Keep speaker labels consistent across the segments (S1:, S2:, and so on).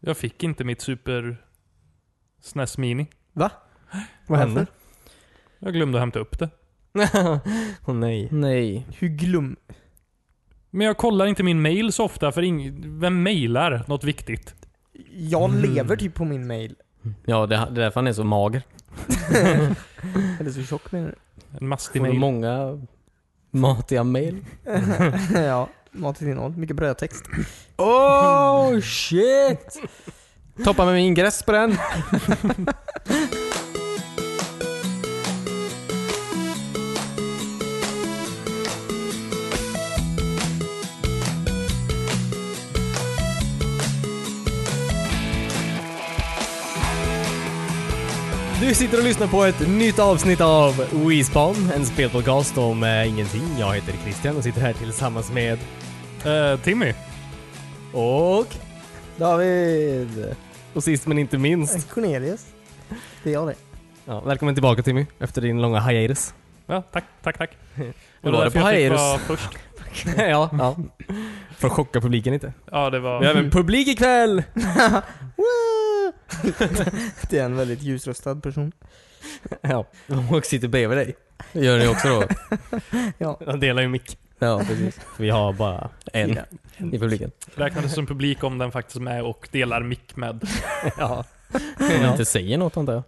S1: Jag fick inte mitt Super SNES Mini.
S2: Va? Vad
S3: Varför?
S2: hände?
S1: Jag glömde hämta upp det.
S3: Åh nej.
S2: Nej. Hur glöm...
S1: Men jag kollar inte min mail så ofta för ing- vem mailar något viktigt?
S2: Jag lever typ på min mail.
S3: Mm. Ja, det, det är därför han är så mager.
S2: Eller så tjock menar
S1: En mastig
S3: Får
S1: mail.
S3: många matiga mail.
S2: du? ja. Mat till innehåll. Mycket brödtext.
S3: Oh shit! Toppa med min ingress på den. Du sitter och lyssnar på ett nytt avsnitt av WeSpawn, en spelpodcast om eh, ingenting. Jag heter Christian och sitter här tillsammans med...
S1: Eh, Timmy.
S3: Och...
S2: David.
S3: Och sist men inte minst.
S2: Cornelius. Det är jag det.
S3: Ja, välkommen tillbaka Timmy, efter din långa hiatus.
S1: Ja, tack, tack, tack.
S3: Hur var
S1: därför
S3: det på
S1: jag fick
S3: Hairus?
S1: vara först.
S3: ja, ja. Mm. För att chocka publiken inte.
S1: Ja, det var...
S3: Vi har även publik ikväll!
S2: Woo! det är en väldigt ljusröstad person.
S3: Ja. Och sitter bredvid dig. Gör ni också då?
S2: Ja.
S3: De delar ju mick.
S2: Ja, precis.
S3: Vi har bara en i publiken.
S1: Räknades som publik om den faktiskt med och delar mick med.
S3: Ja. Om ja. inte säger något antar jag.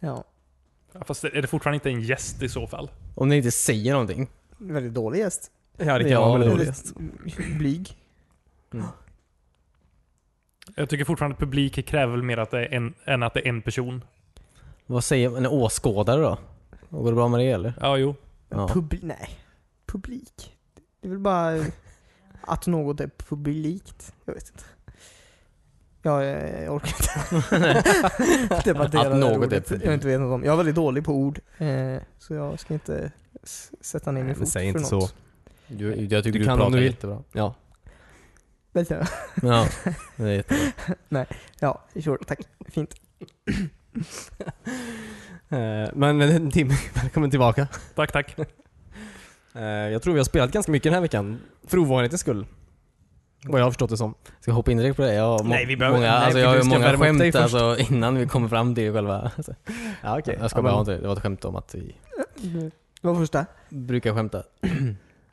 S2: Ja.
S1: Ja, Fast är det fortfarande inte en gäst i så fall?
S3: Om ni inte säger någonting.
S2: Väldigt dålig gäst.
S3: Ja,
S2: Väldigt Blyg.
S1: Jag tycker fortfarande att publik kräver väl mer att det är en, än att det är en person.
S3: Vad säger en åskådare då? Går det bra med det eller?
S1: Ja, jo.
S3: Ja.
S2: Publi- nej. Publik. Det är väl bara att något är publikt. Jag vet inte. Ja, jag, jag orkar inte debattera
S3: Att
S2: det här
S3: något är
S2: ordet.
S3: publikt.
S2: Jag inte vet något om. Jag är väldigt dålig på ord. Eh, så jag ska inte s- sätta ner min fot
S3: säg
S2: för
S3: inte
S2: något.
S3: så. Du, jag tycker
S4: du
S3: du,
S4: kan om
S3: pratar
S4: du vill.
S3: jättebra. Ja.
S2: Vänta.
S3: Ja. Det är jättebra.
S2: Ja, sure. Tack. Fint.
S3: Eh, Men Timmy, välkommen tillbaka.
S1: Tack, tack.
S3: Eh, Jag tror vi har spelat ganska mycket den här veckan. För ovanlighetens skull. Vad jag har förstått det som.
S4: Ska jag hoppa in direkt på det? Jag har, må-
S3: Nej, vi behöver-
S4: många,
S3: nej,
S4: alltså,
S3: för
S4: jag har
S3: du
S4: ju
S3: ska
S4: många
S3: värma upp dig
S4: skämt
S3: först.
S4: alltså, innan vi kommer fram till själva... Alltså,
S3: Ja, okej.
S4: Jag ska
S3: ja,
S4: bara ha
S3: men,
S4: inte det. Det var ett skämt om att vi
S2: Det var första.
S4: brukar skämta.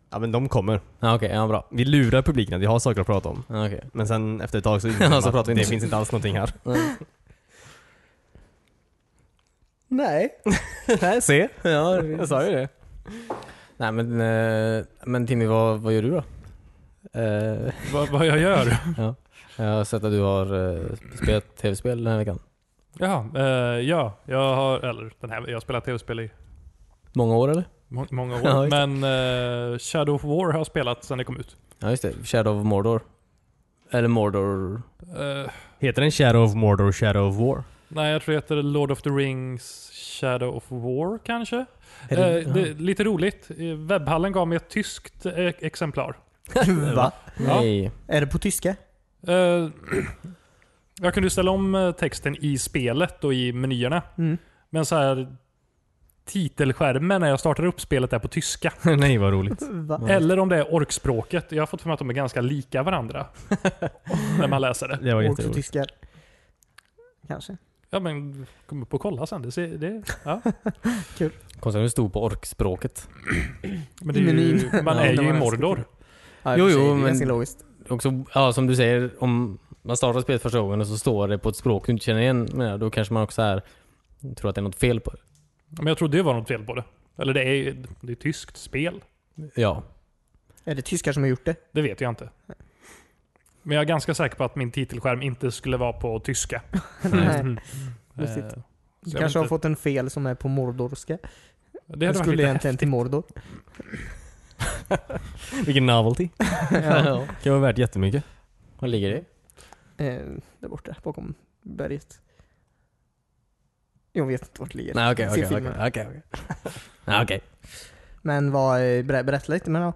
S3: ja, men de kommer.
S4: Ja, Okej, ja bra.
S3: Vi lurar publiken att vi har saker att prata om.
S4: Ja, okej.
S3: Men sen efter ett tag så,
S4: Ja,
S3: inser
S4: så
S3: så
S4: pratar
S3: att
S4: vi
S3: det
S4: inte.
S3: finns inte alls någonting här.
S2: Nej.
S3: Nej, se.
S4: Ja, det-
S3: Jag sa ju det.
S4: Nej men, eh, men Timmy, vad, vad gör du då? Eh,
S1: Vad, vad jag gör?
S4: jag har sett att du har eh, spelat tv-spel den här veckan.
S1: Jaha, eh, ja. Jag har, eller den här, jag har spelat tv-spel i
S4: Många år eller?
S1: må- många år.
S4: Ja, just
S1: men eh, Shadow of War har jag spelat sedan det kom ut.
S4: Ja just det, Shadow of Mordor. Eller Mordor...
S1: Eh,
S3: Heter den Shadow of Mordor och Shadow of War?
S1: nej, jag tror det heter Lord of the Rings Shadow of War kanske?
S4: Är det-
S1: Eh, det, lite roligt. Eh, Webbhallen gav mig ett tyskt eh, exemplar.
S2: Va?
S1: Ja.
S4: Nej.
S2: Är det på tyska?
S1: Eh, jag kunde ju ställa om eh, texten i spelet och i menyerna.
S2: Mm.
S1: Men så här titelskärmen när jag startar upp spelet är på tyska.
S3: Nej, vad roligt.
S2: Va?
S1: Eller om det är orkspråket. Jag har fått för mig att de är ganska lika varandra. när man läser det.
S3: Det
S2: Och
S3: var
S2: för
S3: jätteroligt.
S2: tyskar. Kanske.
S1: Ja men, kom upp och kolla sen. Det, ser, det, ja.
S4: Konstigt att du stod på orkspråket.
S1: men det är ju,
S2: Menyn.
S1: man
S2: Ja,
S1: är
S2: när
S1: ju i
S2: man är
S1: Mordor.
S2: Ja,
S4: Jo,
S2: i och för sig,
S4: jo,
S2: det är
S4: men-
S2: ganska logiskt.
S4: också, ja som du säger, om man startar spelet första gången och så står det på ett språk du inte känner igen, men ja, då kanske man också är, tror att det är något fel på det.
S1: Men jag tror det var något fel på det. Eller det är ju det är tyskt spel.
S4: Ja.
S2: Är det tyskar som har gjort det?
S1: Det vet jag inte. Men jag är ganska säker på att min titelskärm inte skulle vara på tyska.
S2: Nej.
S1: Mm.
S2: Lustigt.
S1: Eh, så
S2: Du
S1: jag
S2: kanske
S1: vet
S2: har fått en fel som är på mordorska.
S1: inte. det
S2: Det
S1: hade varit
S2: skulle
S1: lite
S2: egentligen till Mordor.
S3: Vilken novelty.
S2: ja.
S4: ja.
S3: Kan vara värt jättemycket.
S4: Var ligger det?
S2: eh, där borta, bakom berget. Jag vet inte vart det ligger.
S4: Nej okej,
S2: Se
S4: okej,
S2: filmen.
S4: okej, okej. okej. Nej okej.
S2: Men vad, eh, ber- berätta lite men ja.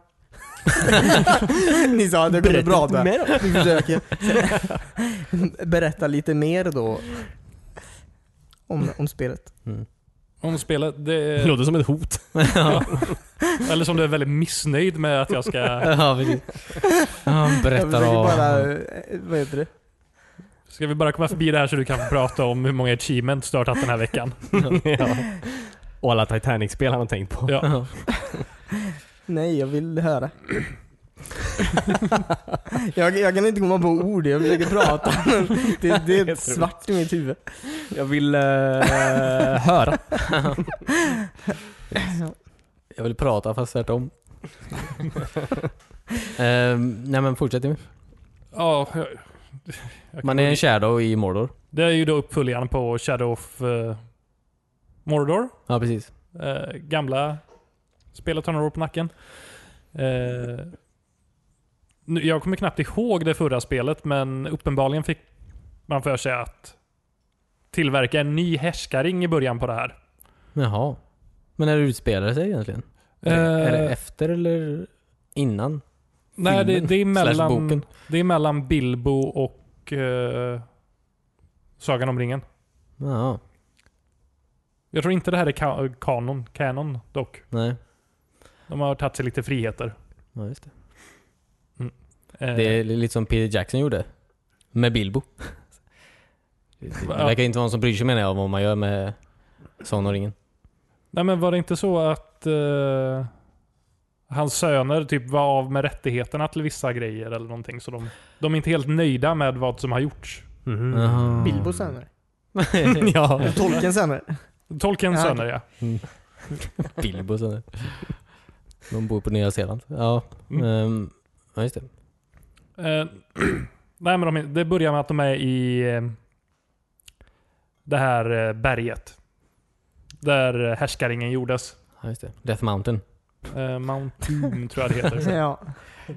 S2: Ni sa att det kommer bra där. Vi försöker. Berätta lite mer då. Om, om spelet.
S1: Om spelet, det...
S3: Det låter som ett hot.
S1: ja. Eller som du är väldigt missnöjd med att jag ska...
S4: Ja precis. Ja, Han
S2: jag
S4: berättar
S2: försöker
S4: om...
S2: bara, eh, vad heter det?
S1: Ska vi bara komma förbi det här så du kan få prata om hur många achievements du har tagit den här veckan?
S3: ja. Och alla Titanic-spel han har tänkt på.
S1: Ja.
S2: Nej, jag vill höra. jag, jag kan inte komma på ord, jag försöker prata men det, det är
S3: Jag tror-
S2: svart i mitt huvud.
S3: Jag vill eh, höra.
S4: Jag vill prata fast tvärtom. Ehm, nej men fortsätt Jimmy.
S1: Ja, jag, jag
S4: Man är en shadow i Mordor.
S1: Det är ju då uppföljaren på Shadow of eh, Mordor.
S4: Ja precis.
S1: Eh, gamla spelet har några år på nacken. Eh, nu, jag kommer knappt ihåg det förra spelet, men uppenbarligen fick man för sig att tillverka en ny härskaring i början på det här.
S4: Jaha. Men när utspelar det sig egentligen? Är det- är det
S1: Eh,
S4: efter eller innan?
S1: nej, det,
S4: filmen
S1: det, är
S4: slash
S1: mellan,
S4: boken?
S1: det är mellan Bilbo och eh, Sagan om ringen.
S4: Ja,
S1: Jag tror inte det här är ka- kanon, kanon dock.
S4: nej.
S1: De har tagit sig lite friheter.
S4: Ja, just det.
S1: Eh,
S4: det är lite som Peter Jackson gjorde. Med Bilbo. Det det
S1: Ja.
S4: verkar inte vara någon som bryr sig menar jag om vad man gör med Sagan om ringen.
S1: Nej men var det inte så att eh, hans söner typ var av med rättigheterna till vissa grejer eller någonting? Så de, de är inte helt nöjda med vad som har gjorts.
S3: Mhm.
S4: Jaha.
S2: Bilbo sämre.
S3: ja.
S2: Tolken sämre.
S1: Tolkiens
S2: Ja,
S1: söner ja.
S4: Bilbo sen. där. De bor på Nya Zeeland. Ja,
S1: Mm.
S4: ehm, ja just det.
S1: Eh, nej men de, det börjar med att de är i eh, det här eh, berget. Där eh, härskaringen gjordes.
S4: Ja, just det. Death Mountain.
S1: Eh, Mount Doom tror jag det heter.
S2: Ja.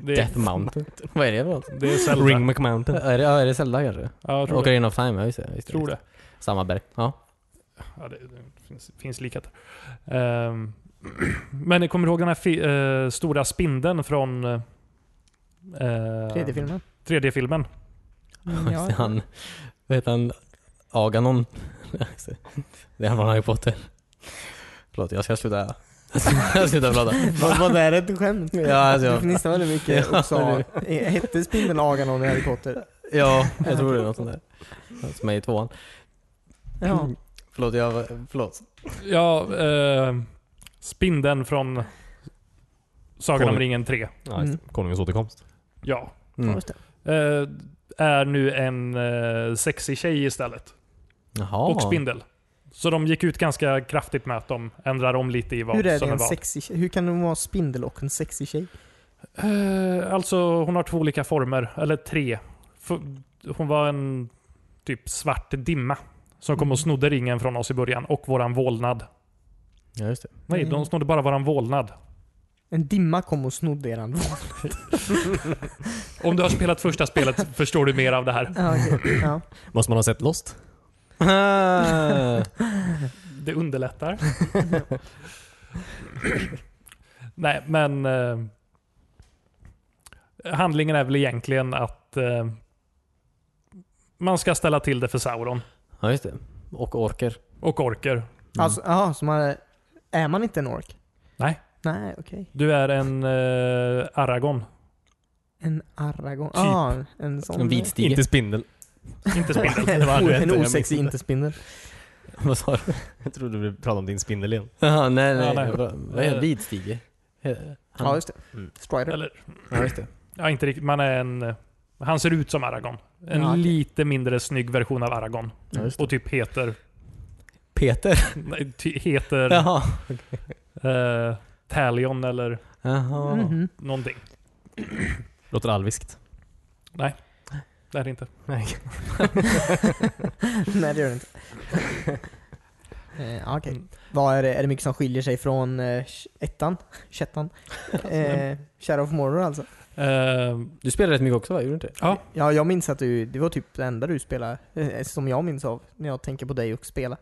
S1: Det,
S4: Death Mountain. Vad är det för något?
S1: det är Zelda.
S3: Ring McMountain.
S4: Är det, ja, är det Zelda kanske?
S1: Ja, jag tror det.
S4: Ocarina of Time, ja just det. Just det,
S1: Tror
S4: just
S1: det.
S4: det. Samma berg. Ja.
S1: Ja, det, det finns, finns likheter. Ehm, men ni kommer ihåg den här fi, eh, stora spindeln från eh,
S2: Tredje filmen.
S1: tredje filmen?
S2: Mm,
S4: Just det,
S2: ja.
S4: Han, vad heter han? Aganon. Just det. det är han från Harry Potter. Förlåt, jag ska sluta. Jag ska sluta prata.
S2: Var, var det här ett skämt?
S4: Ja, alltså-
S2: Du fnissade väldigt mycket
S4: Ja,
S2: och sa, hette spindeln Aganon i Harry Potter?
S4: Ja, jag tror det är något sånt där. Som är i tvåan.
S2: Ja.
S4: Förlåt, jag... Förlåt.
S1: Ja, eh, spindeln från Sagan om
S3: Konung.
S1: ringen 3.
S3: Ja, just det. Konungens återkomst.
S1: Ja.
S4: Mm.
S2: Just det.
S1: Eh, är nu en eh, sexig tjej istället.
S4: Jaha.
S1: Och spindel. Så de gick ut ganska kraftigt med att de ändrar om lite i vad
S2: Hur är det
S1: som
S2: en
S1: vad.
S2: sexig tjej? Hur kan det vara spindel och en sexig tjej?
S1: Eh, alltså hon har två olika former, eller tre. F- Hon var en typ svart dimma som kom och snodde ringen från oss i början och våran vålnad.
S4: Ja, just det.
S1: Nej, de snodde bara våran vålnad.
S2: En dimma kom och snodde eran
S1: Om du har spelat första spelet förstår du mer av det här.
S2: ja, okej. ja.
S3: Måste man ha sett Lost?
S1: Det underlättar. Nej, men eh, handlingen är väl egentligen att eh, man ska ställa till det för Sauron
S4: Ja, just det. Och orker.
S1: och orker.
S2: Alltså, aha, så man är, är man inte en ork?
S1: Nej.
S2: Nej, okej.
S1: Du är en eh, Aragon.
S2: En Aragorn.
S1: Typ.
S2: Ah, en sån.
S4: En vit stige.
S3: Inte spindel.
S1: Inte spindel.
S2: En,
S3: Det var det
S2: en
S3: inte, jag
S2: osexig
S3: missade.
S2: inte-spindel.
S4: Vad sa du?
S3: Jag trodde du pratade om din spindel igen.
S4: Jaha, nej, nej.
S1: Ja, nej.
S4: Vad- Vad är det? Vitstige? Han-
S2: Ja, just det.
S3: Mm.
S2: Strider.
S1: Eller,
S4: Ja, just det.
S1: ja, inte riktigt. Man är en... eh, Han ser ut som Aragon. En
S2: Ja, okej.
S1: lite mindre snygg version av Aragon.
S4: Ja, just det.
S1: Och typ heter...
S4: Peter.
S1: Nej, ty, heter...
S4: Jaha.
S1: eh, Talion eller
S4: Jaha.
S2: Mhm.
S1: någonting.
S3: Låter alviskt.
S1: Det är det inte.
S2: Nej, det gör det inte. Eh, ah, Okej.
S1: Mm.
S2: Vad är det? Är det mycket som skiljer sig från eh, sh- ettan? Sjättan? Eh, Shadow of Mordor alltså?
S1: Eh,
S4: Du spelade rätt mycket också va? Gjorde du inte det?
S2: Ja, jag minns att du, det var typ det enda du spelade, eh, som jag minns av, när jag tänker på dig och spela.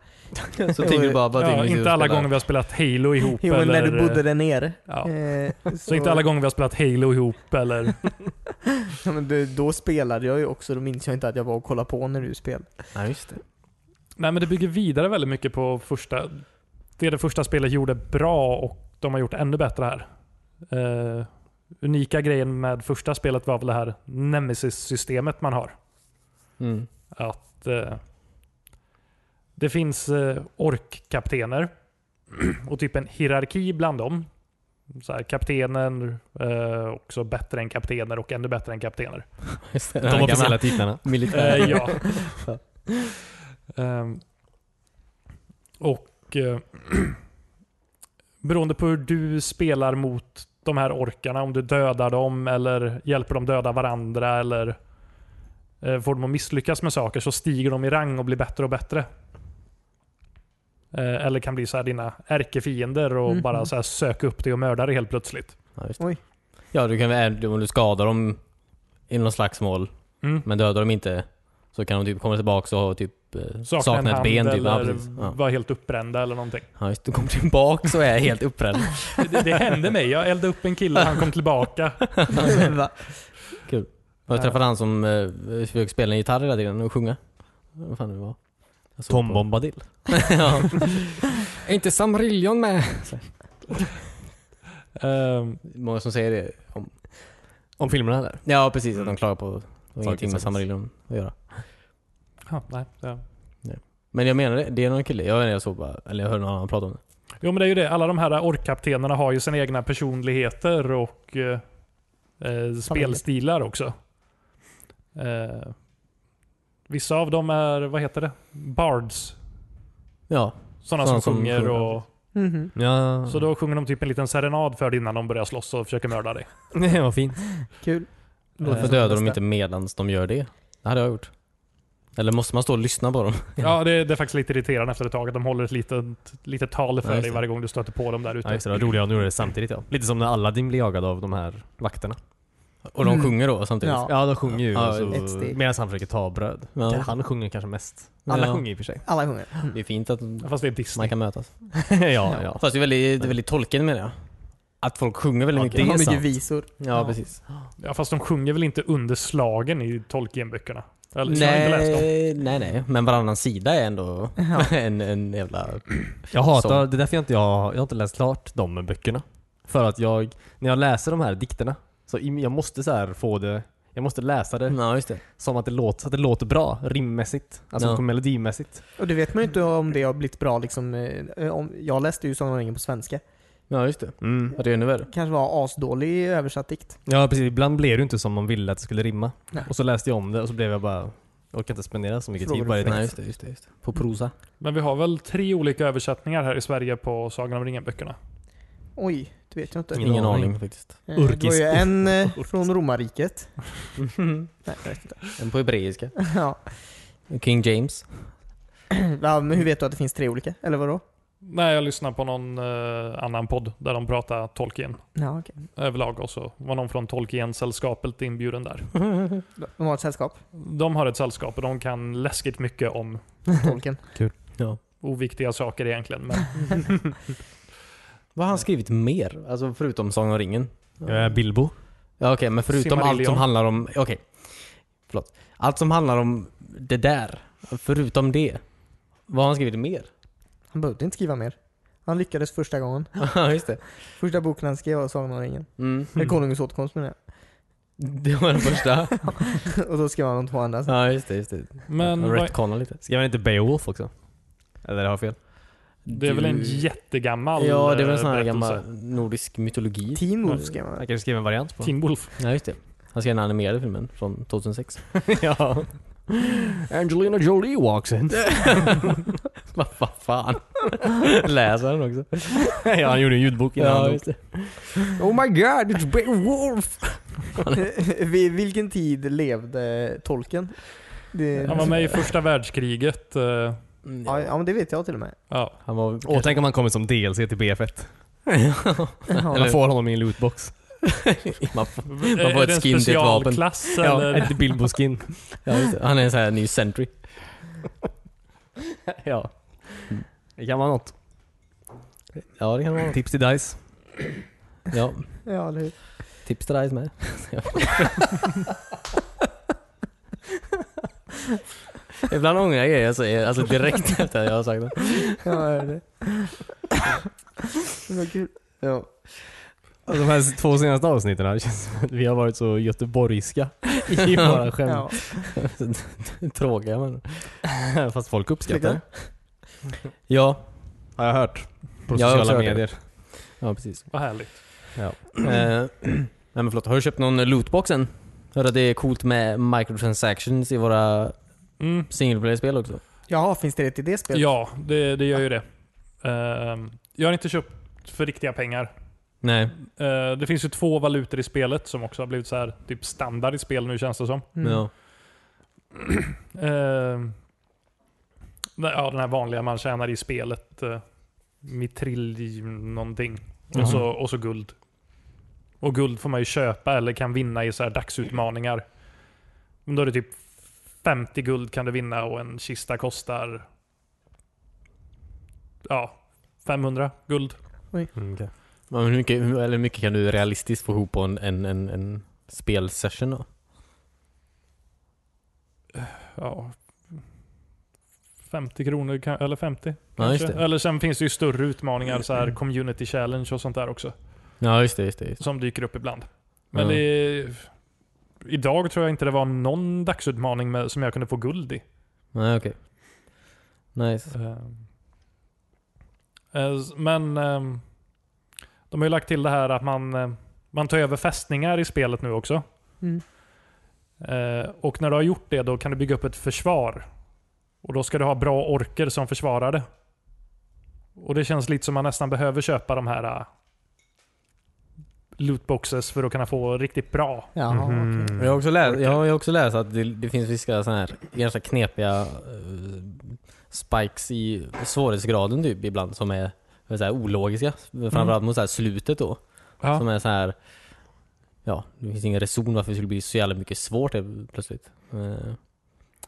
S4: Så tänker du bara på att
S1: ja,
S4: Jimmy sitter
S1: inte
S4: och
S1: alla
S4: spelar.
S1: gånger vi har spelat Halo ihop.
S2: Jo, men
S1: eller,
S2: när du bodde
S1: eh,
S2: där nere.
S1: ja.
S2: Eh,
S1: Så inte alla gånger vi har spelat Halo ihop eller...
S2: Ja, men du, då spelade jag ju också, då minns jag inte att jag var och kollade på när du spelade.
S4: Ja, just det.
S1: Nej, men det bygger vidare väldigt mycket på första... Det det första spelet gjorde bra och de har gjort ännu bättre här. Eh, unika grejen med första spelet var väl det här Nemesis-systemet man har.
S4: Mm.
S1: att eh, det finns eh, orkkaptener och typ en hierarki bland dem. Så här, kaptenen, eh, också bättre än kaptener och ännu bättre än kaptener.
S4: Just det, den
S3: De
S4: här
S3: officiella
S4: gamla
S3: titlarna.
S4: militära.
S1: Eh, ja. Ehm, och eh, beroende på hur du spelar mot de här orkarna, om du dödar dem eller hjälper dem döda varandra eller eh, får dem att misslyckas med saker så stiger de i rang och blir bättre och bättre. Eh, eller kan bli så här dina ärkefiender och
S4: Mm.
S2: Mhm.
S1: bara så här söka upp dig och mörda dig helt plötsligt.
S4: Ja, just det.
S2: Oj.
S4: ja, du kan väl, om du skadar dem i någon slagsmål,
S1: Mm.
S4: men dödar dem inte, så kan de typ komma tillbaka och ha typ eh,
S1: Sakna, en
S4: sakna ett
S1: hand
S4: ben. Typ. Ja,
S1: eller
S4: precis. Ja.
S1: vara helt uppbrända eller någonting.
S4: Ja, just, det. de kommer tillbaka så är jag helt upprädd.
S1: Det, det hände mig. Jag eldade upp en kille och han kom tillbaka.
S2: Va?
S4: Jag träffade han som eh, försökte spela en gitarr hela tiden och sjunga. Vad fan det var. Jag såg
S3: Tom
S4: på-
S3: Bombadil.
S4: ja. Är inte Samrillion med?
S1: Ehm,
S4: Många som säger det. Om,
S3: Om filmerna eller?
S4: ja, precis. Att de klagar på att det har ingenting med
S3: som-
S4: Samrillion att göra.
S1: Ja, nej, ja.
S4: Men jag menar det, det är någon kille. Jag, vet inte, jag såg bara, eller jag hörde någon annan prata om det.
S1: Jo men det är ju det, alla de här orkkaptenerna har ju sina egna personligheter och eh, eh, spelstilar också. Eh, vissa av dem är, vad heter det? Bards.
S4: Ja.
S1: Sådana som,
S4: Sådana som
S1: sjunger
S4: sjunger,
S1: och...
S2: Mhm.
S4: Mm-hmm. ja.
S1: Så då sjunger de typ en liten serenad för dig innan de börjar slåss och försöker mörda dig.
S3: Nej, vad fint.
S2: Kul.
S4: Varför
S1: Eh,
S4: dödar
S2: bästa.
S4: de inte medans de gör det? Det hade jag gjort. Eller måste man stå och lyssna på dem?
S1: ja, det, det är faktiskt lite irriterande efter ett tag att de håller ett litet, litet tal för
S4: Ja, just
S1: dig
S4: det.
S1: varje gång du stöter på dem där ute.
S3: Ja, just det, det var roligare om du gjorde det samtidigt ja. Lite som när Aladdin blir jagad av de här vakterna.
S4: Och de
S2: Mm.
S4: sjunger då samtidigt?
S2: Ja.
S3: Ja, de sjunger ju.
S4: Ja,
S3: och så-
S2: ett steg.
S3: Medan han försöker ta bröd.
S4: Ja.
S3: Han sjunger kanske mest. Alla
S4: Ja.
S3: sjunger i och för sig.
S2: Alla sjunger.
S4: Det är fint att
S1: Fast det är Disney.
S4: man kan mötas.
S3: ja, ja.
S4: Fast det är väldigt, det är väldigt tolken menar jag. Att folk sjunger väldigt
S3: Ja,
S4: mycket. Alltså.
S3: det är
S2: har mycket
S3: sant.
S2: visor.
S4: Ja, precis.
S1: Ja, fast de sjunger väl inte under slagen i Tolkien-böckerna? Eller, så har jag inte läst dem.
S4: Nej, nej, nej. Men varannan sida är ändå en, en jävla...
S3: Jag hatar,
S4: Som-
S3: det är därför jag inte, jag, jag har inte läst klart de böckerna. För att jag, när jag läser de här dikterna, så i- jag måste så här få det, jag måste läsa det
S4: Ja, just det.
S3: som att det låter, att det låter bra, rimmässigt. Alltså
S4: Ja.
S3: melodimässigt.
S2: Och det vet man ju inte om det har blivit bra liksom. eh, Om, jag läste ju Sagan om ringen på svenska.
S4: Ja, just det. Ja, det är ännu värre.
S2: Kanske var asdålig översatt dikt.
S3: Mm. Ja precis, ibland blev det inte som man ville att det skulle rimma.
S2: Nej.
S3: Och så läste jag om det och så blev jag bara, jag orkar inte spendera så mycket
S2: Frågar du
S3: tid på det.
S4: Nej, just det, just det, just det. På prosa.
S1: Men vi har väl tre olika översättningar här i Sverige på Sagan om ringen-böckerna.
S2: Oj, det vet jag inte.
S4: Ingen, aning. faktiskt.
S2: Eh, Det var
S3: Urkis.
S2: ju en eh, från romarriket. Nej, jag vet inte.
S4: En på hebreiska.
S2: Ja.
S4: King James.
S2: ja, men hur vet du att det finns tre olika? Eller vadå?
S1: Nej, jag lyssnade på någon eh, annan podd där de pratade Tolkien
S2: Ja, okej.
S1: överlag och så var någon från Tolkien-sällskapet inbjuden där.
S2: De har ett sällskap,
S1: De har ett sällskap och de kan läskigt mycket om
S2: tolken.
S1: oviktiga saker egentligen. Men
S4: Vad har han skrivit mer? Alltså förutom Sagan om ringen?
S3: Jag är Bilbo.
S4: Ja, okej, men förutom allt som
S1: Silmarillion.
S4: handlar om... Okej. Förlåt. Allt som handlar om det där. Förutom det. Vad har han skrivit mer?
S2: Han behövde inte skriva mer. Han lyckades första gången.
S4: Ja, just det.
S2: Första boken han skrev var Sagan om ringen.
S4: Mm.
S2: Eller Konungens återkomst menar
S4: Det var den första.
S2: jag. Och då skrev han de två andra. sen.
S4: ja, just det. Just det.
S1: Men
S4: Jag
S1: vad-
S4: retconar lite.
S3: Skrev han inte Beowulf också? Eller har jag fel?
S1: det är väl en
S4: Du-
S1: jättegammal
S4: Ja, det är väl en sån här
S1: eh, berättelse.
S4: gammal nordisk mytologi.
S2: Teen Wolf skrev han.
S3: Han kanske skrev en variant på.
S1: Teen Wolf.
S4: Ja, just det. Han skrev den animerade filmen från 2006.
S3: ja. Angelina Jolie walks in.
S4: Vad vad fan? Läser den också?
S3: ja, han gjorde en ljudbok innan han dog.
S4: det. Oh my god, it's Beowulf!
S2: Vid vilken tid levde tolken? Det...
S1: Han var med i första världskriget. eh,
S4: Mm,
S2: Ja, ja, men det vet jag till och med.
S1: Ja.
S4: Han var...
S3: Åh, tänk om han kommer som DLC till BF1.
S2: Ja.
S3: Man får honom i en lootbox.
S4: Man får-
S1: Är-
S4: får
S1: är
S4: ett
S1: det en
S4: skin till ett
S1: specialklass eller?
S3: ett Bilbo-skin.
S4: ja, just det. Han är en sån här ny sentry.
S3: ja. Det kan vara något.
S4: Ja, det kan vara.
S3: Tips till DICE.
S4: Ja,
S2: Ja, eller hur?
S4: tips till dig med. Ibland ångrar jag grejer jag säger, alltså direkt efter att jag har sagt det.
S2: Ja, det är det. Det var kul. Ja.
S3: De här två senaste avsnitten här, det känns som att vi har varit så göteborgska i våra skämt.
S2: Ja.
S4: Tråkiga men.
S3: Fast folk uppskattar det.
S4: Ja,
S3: Har jag hört. På
S4: Jag har också
S3: sociala
S4: hört det.
S3: medier.
S4: ja precis.
S1: Vad härligt.
S4: Eh, Nej men förlåt, har du köpt någon lootbox än? Hörde att det är coolt med microtransactions i våra
S1: Mm.
S4: single player-spel också.
S2: Jaha, finns det ett i det spelet?
S1: Ja, det, det gör ju det. Ehm, jag har inte köpt för riktiga pengar.
S4: Nej.
S1: Eh, det finns ju två valutor i spelet som också har blivit så här, typ standard i spel nu känns det som.
S2: Mm.
S4: Ja.
S1: Eh, nej, ja, den här vanliga man tjänar i spelet. Eh, mitrill någonting.
S4: Mhm.
S1: Och, så, och så guld. Och guld får man ju köpa eller kan vinna i så här dagsutmaningar. Men då är det typ 50 guld kan du vinna och en kista kostar ja, 500 guld.
S3: Mm, okej.
S4: Ja, Men hur mycket, hur- eller hur mycket kan du realistiskt få ihop på en, en, en, en spelsession då?
S1: ja, 50 kronor, ka- eller 50
S4: Ja, just
S1: kanske.
S4: det. Mm.
S1: Eller sen finns det ju större utmaningar, så här community challenge och sånt där också.
S4: Ja, just det. Just det, just det.
S1: Som dyker upp ibland. Men
S4: Ja.
S1: det, idag tror jag inte det var någon dagsutmaning med, som jag kunde få guld i.
S4: Nej, okej. Nice.
S1: Eh, eh, s- Men ehm, de har ju lagt till det här att man, eh, man tar över fästningar i spelet nu också.
S2: Mm.
S1: Eh, Och när du har gjort det då kan du bygga upp ett försvar. Och då ska du ha bra orker som försvarare. Och det känns lite som man nästan behöver köpa de här eh, lootboxes för att kunna få riktigt bra.
S2: Jaha, okej.
S4: Jag har också läst, jag har ju också läst att det, det finns vissa sådana här ganska knepiga eh, spikes i svårighetsgraden typ ibland som är eh, så här, ologiska. Framförallt mot så här, slutet då. Som är så här. Ja, det finns ingen reson varför det skulle bli så jävla mycket svårt helt plötsligt. Eh,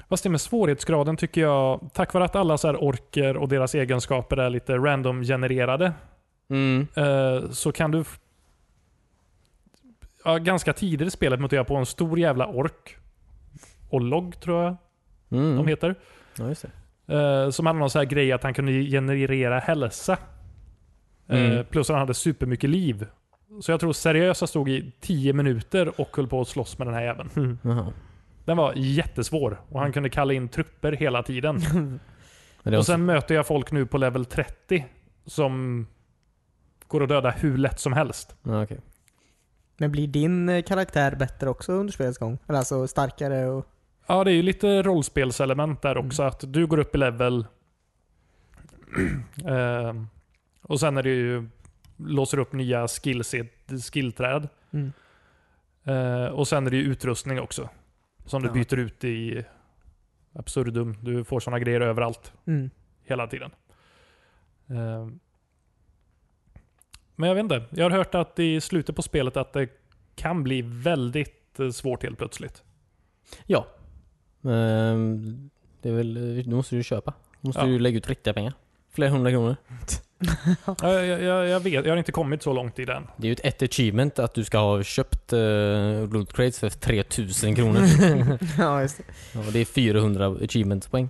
S1: Fast det med svårighetsgraden tycker jag, tack vare att alla så här orker och deras egenskaper är lite random-genererade,
S4: Mm.
S1: eh, så kan du... f- Ja, ganska tidigt i spelet mötte jag på en stor jävla ork. Och logg tror jag
S4: Mm.
S1: de heter.
S4: Ja, just det.
S1: Eh, som hade någon så här grej att han kunde generera hälsa. Eh,
S4: Mm.
S1: plus han hade supermycket liv. Så jag tror seriösa stod i 10 minuter och höll på att slåss med den här jäveln.
S4: Jaha.
S1: Den var jättesvår och han kunde kalla in trupper hela tiden.
S4: Men det är
S1: Och sen möter jag folk nu på level 30 som går att döda hur lätt som helst.
S4: också- Ja, okej.
S2: Men blir din eh, karaktär bättre också under spelets gång? Eller alltså starkare och...
S1: Ja, det är ju lite rollspelselement där också. Att du går upp i level. Ehm, och sen är det ju låser upp nya skills, skillträd.
S2: Mm.
S1: Eh, och sen är det ju utrustning också. Som du
S2: Ja.
S1: byter ut i absurdum. Du får sådana grejer överallt.
S2: Mm.
S1: hela tiden. Eh, Men jag vet inte. Jag har hört att i slutet på spelet att det kan bli väldigt eh, svårt helt plötsligt.
S4: Ja. Ehm, det är väl, då måste du köpa. Då måste
S1: Ja.
S4: du lägga ut riktiga pengar. Flera hundra kronor.
S1: Jag, jag, jag, jag vet, jag har inte kommit så långt i den.
S4: Det är ju ett- ett achievement att du ska ha köpt uh, loot crates för 3000 kronor.
S2: ja, just det.
S4: ja, och det är 400 achievementpoäng.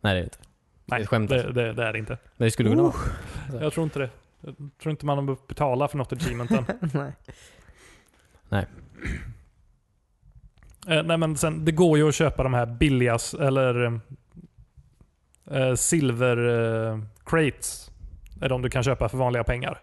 S4: Nej det är det inte.
S1: Nej,
S4: Det är ett skämt,
S1: det,
S4: alltså.
S1: det, det är det inte.
S4: Men det skulle kunna vara.
S1: Jag tror inte det. Jag tror inte man har behövt betala för något achievement än.
S2: Nej.
S1: Eh, nej men sen, det går ju att köpa de här billigas, eller eh, silver eh, crates. Är de du kan köpa för vanliga pengar.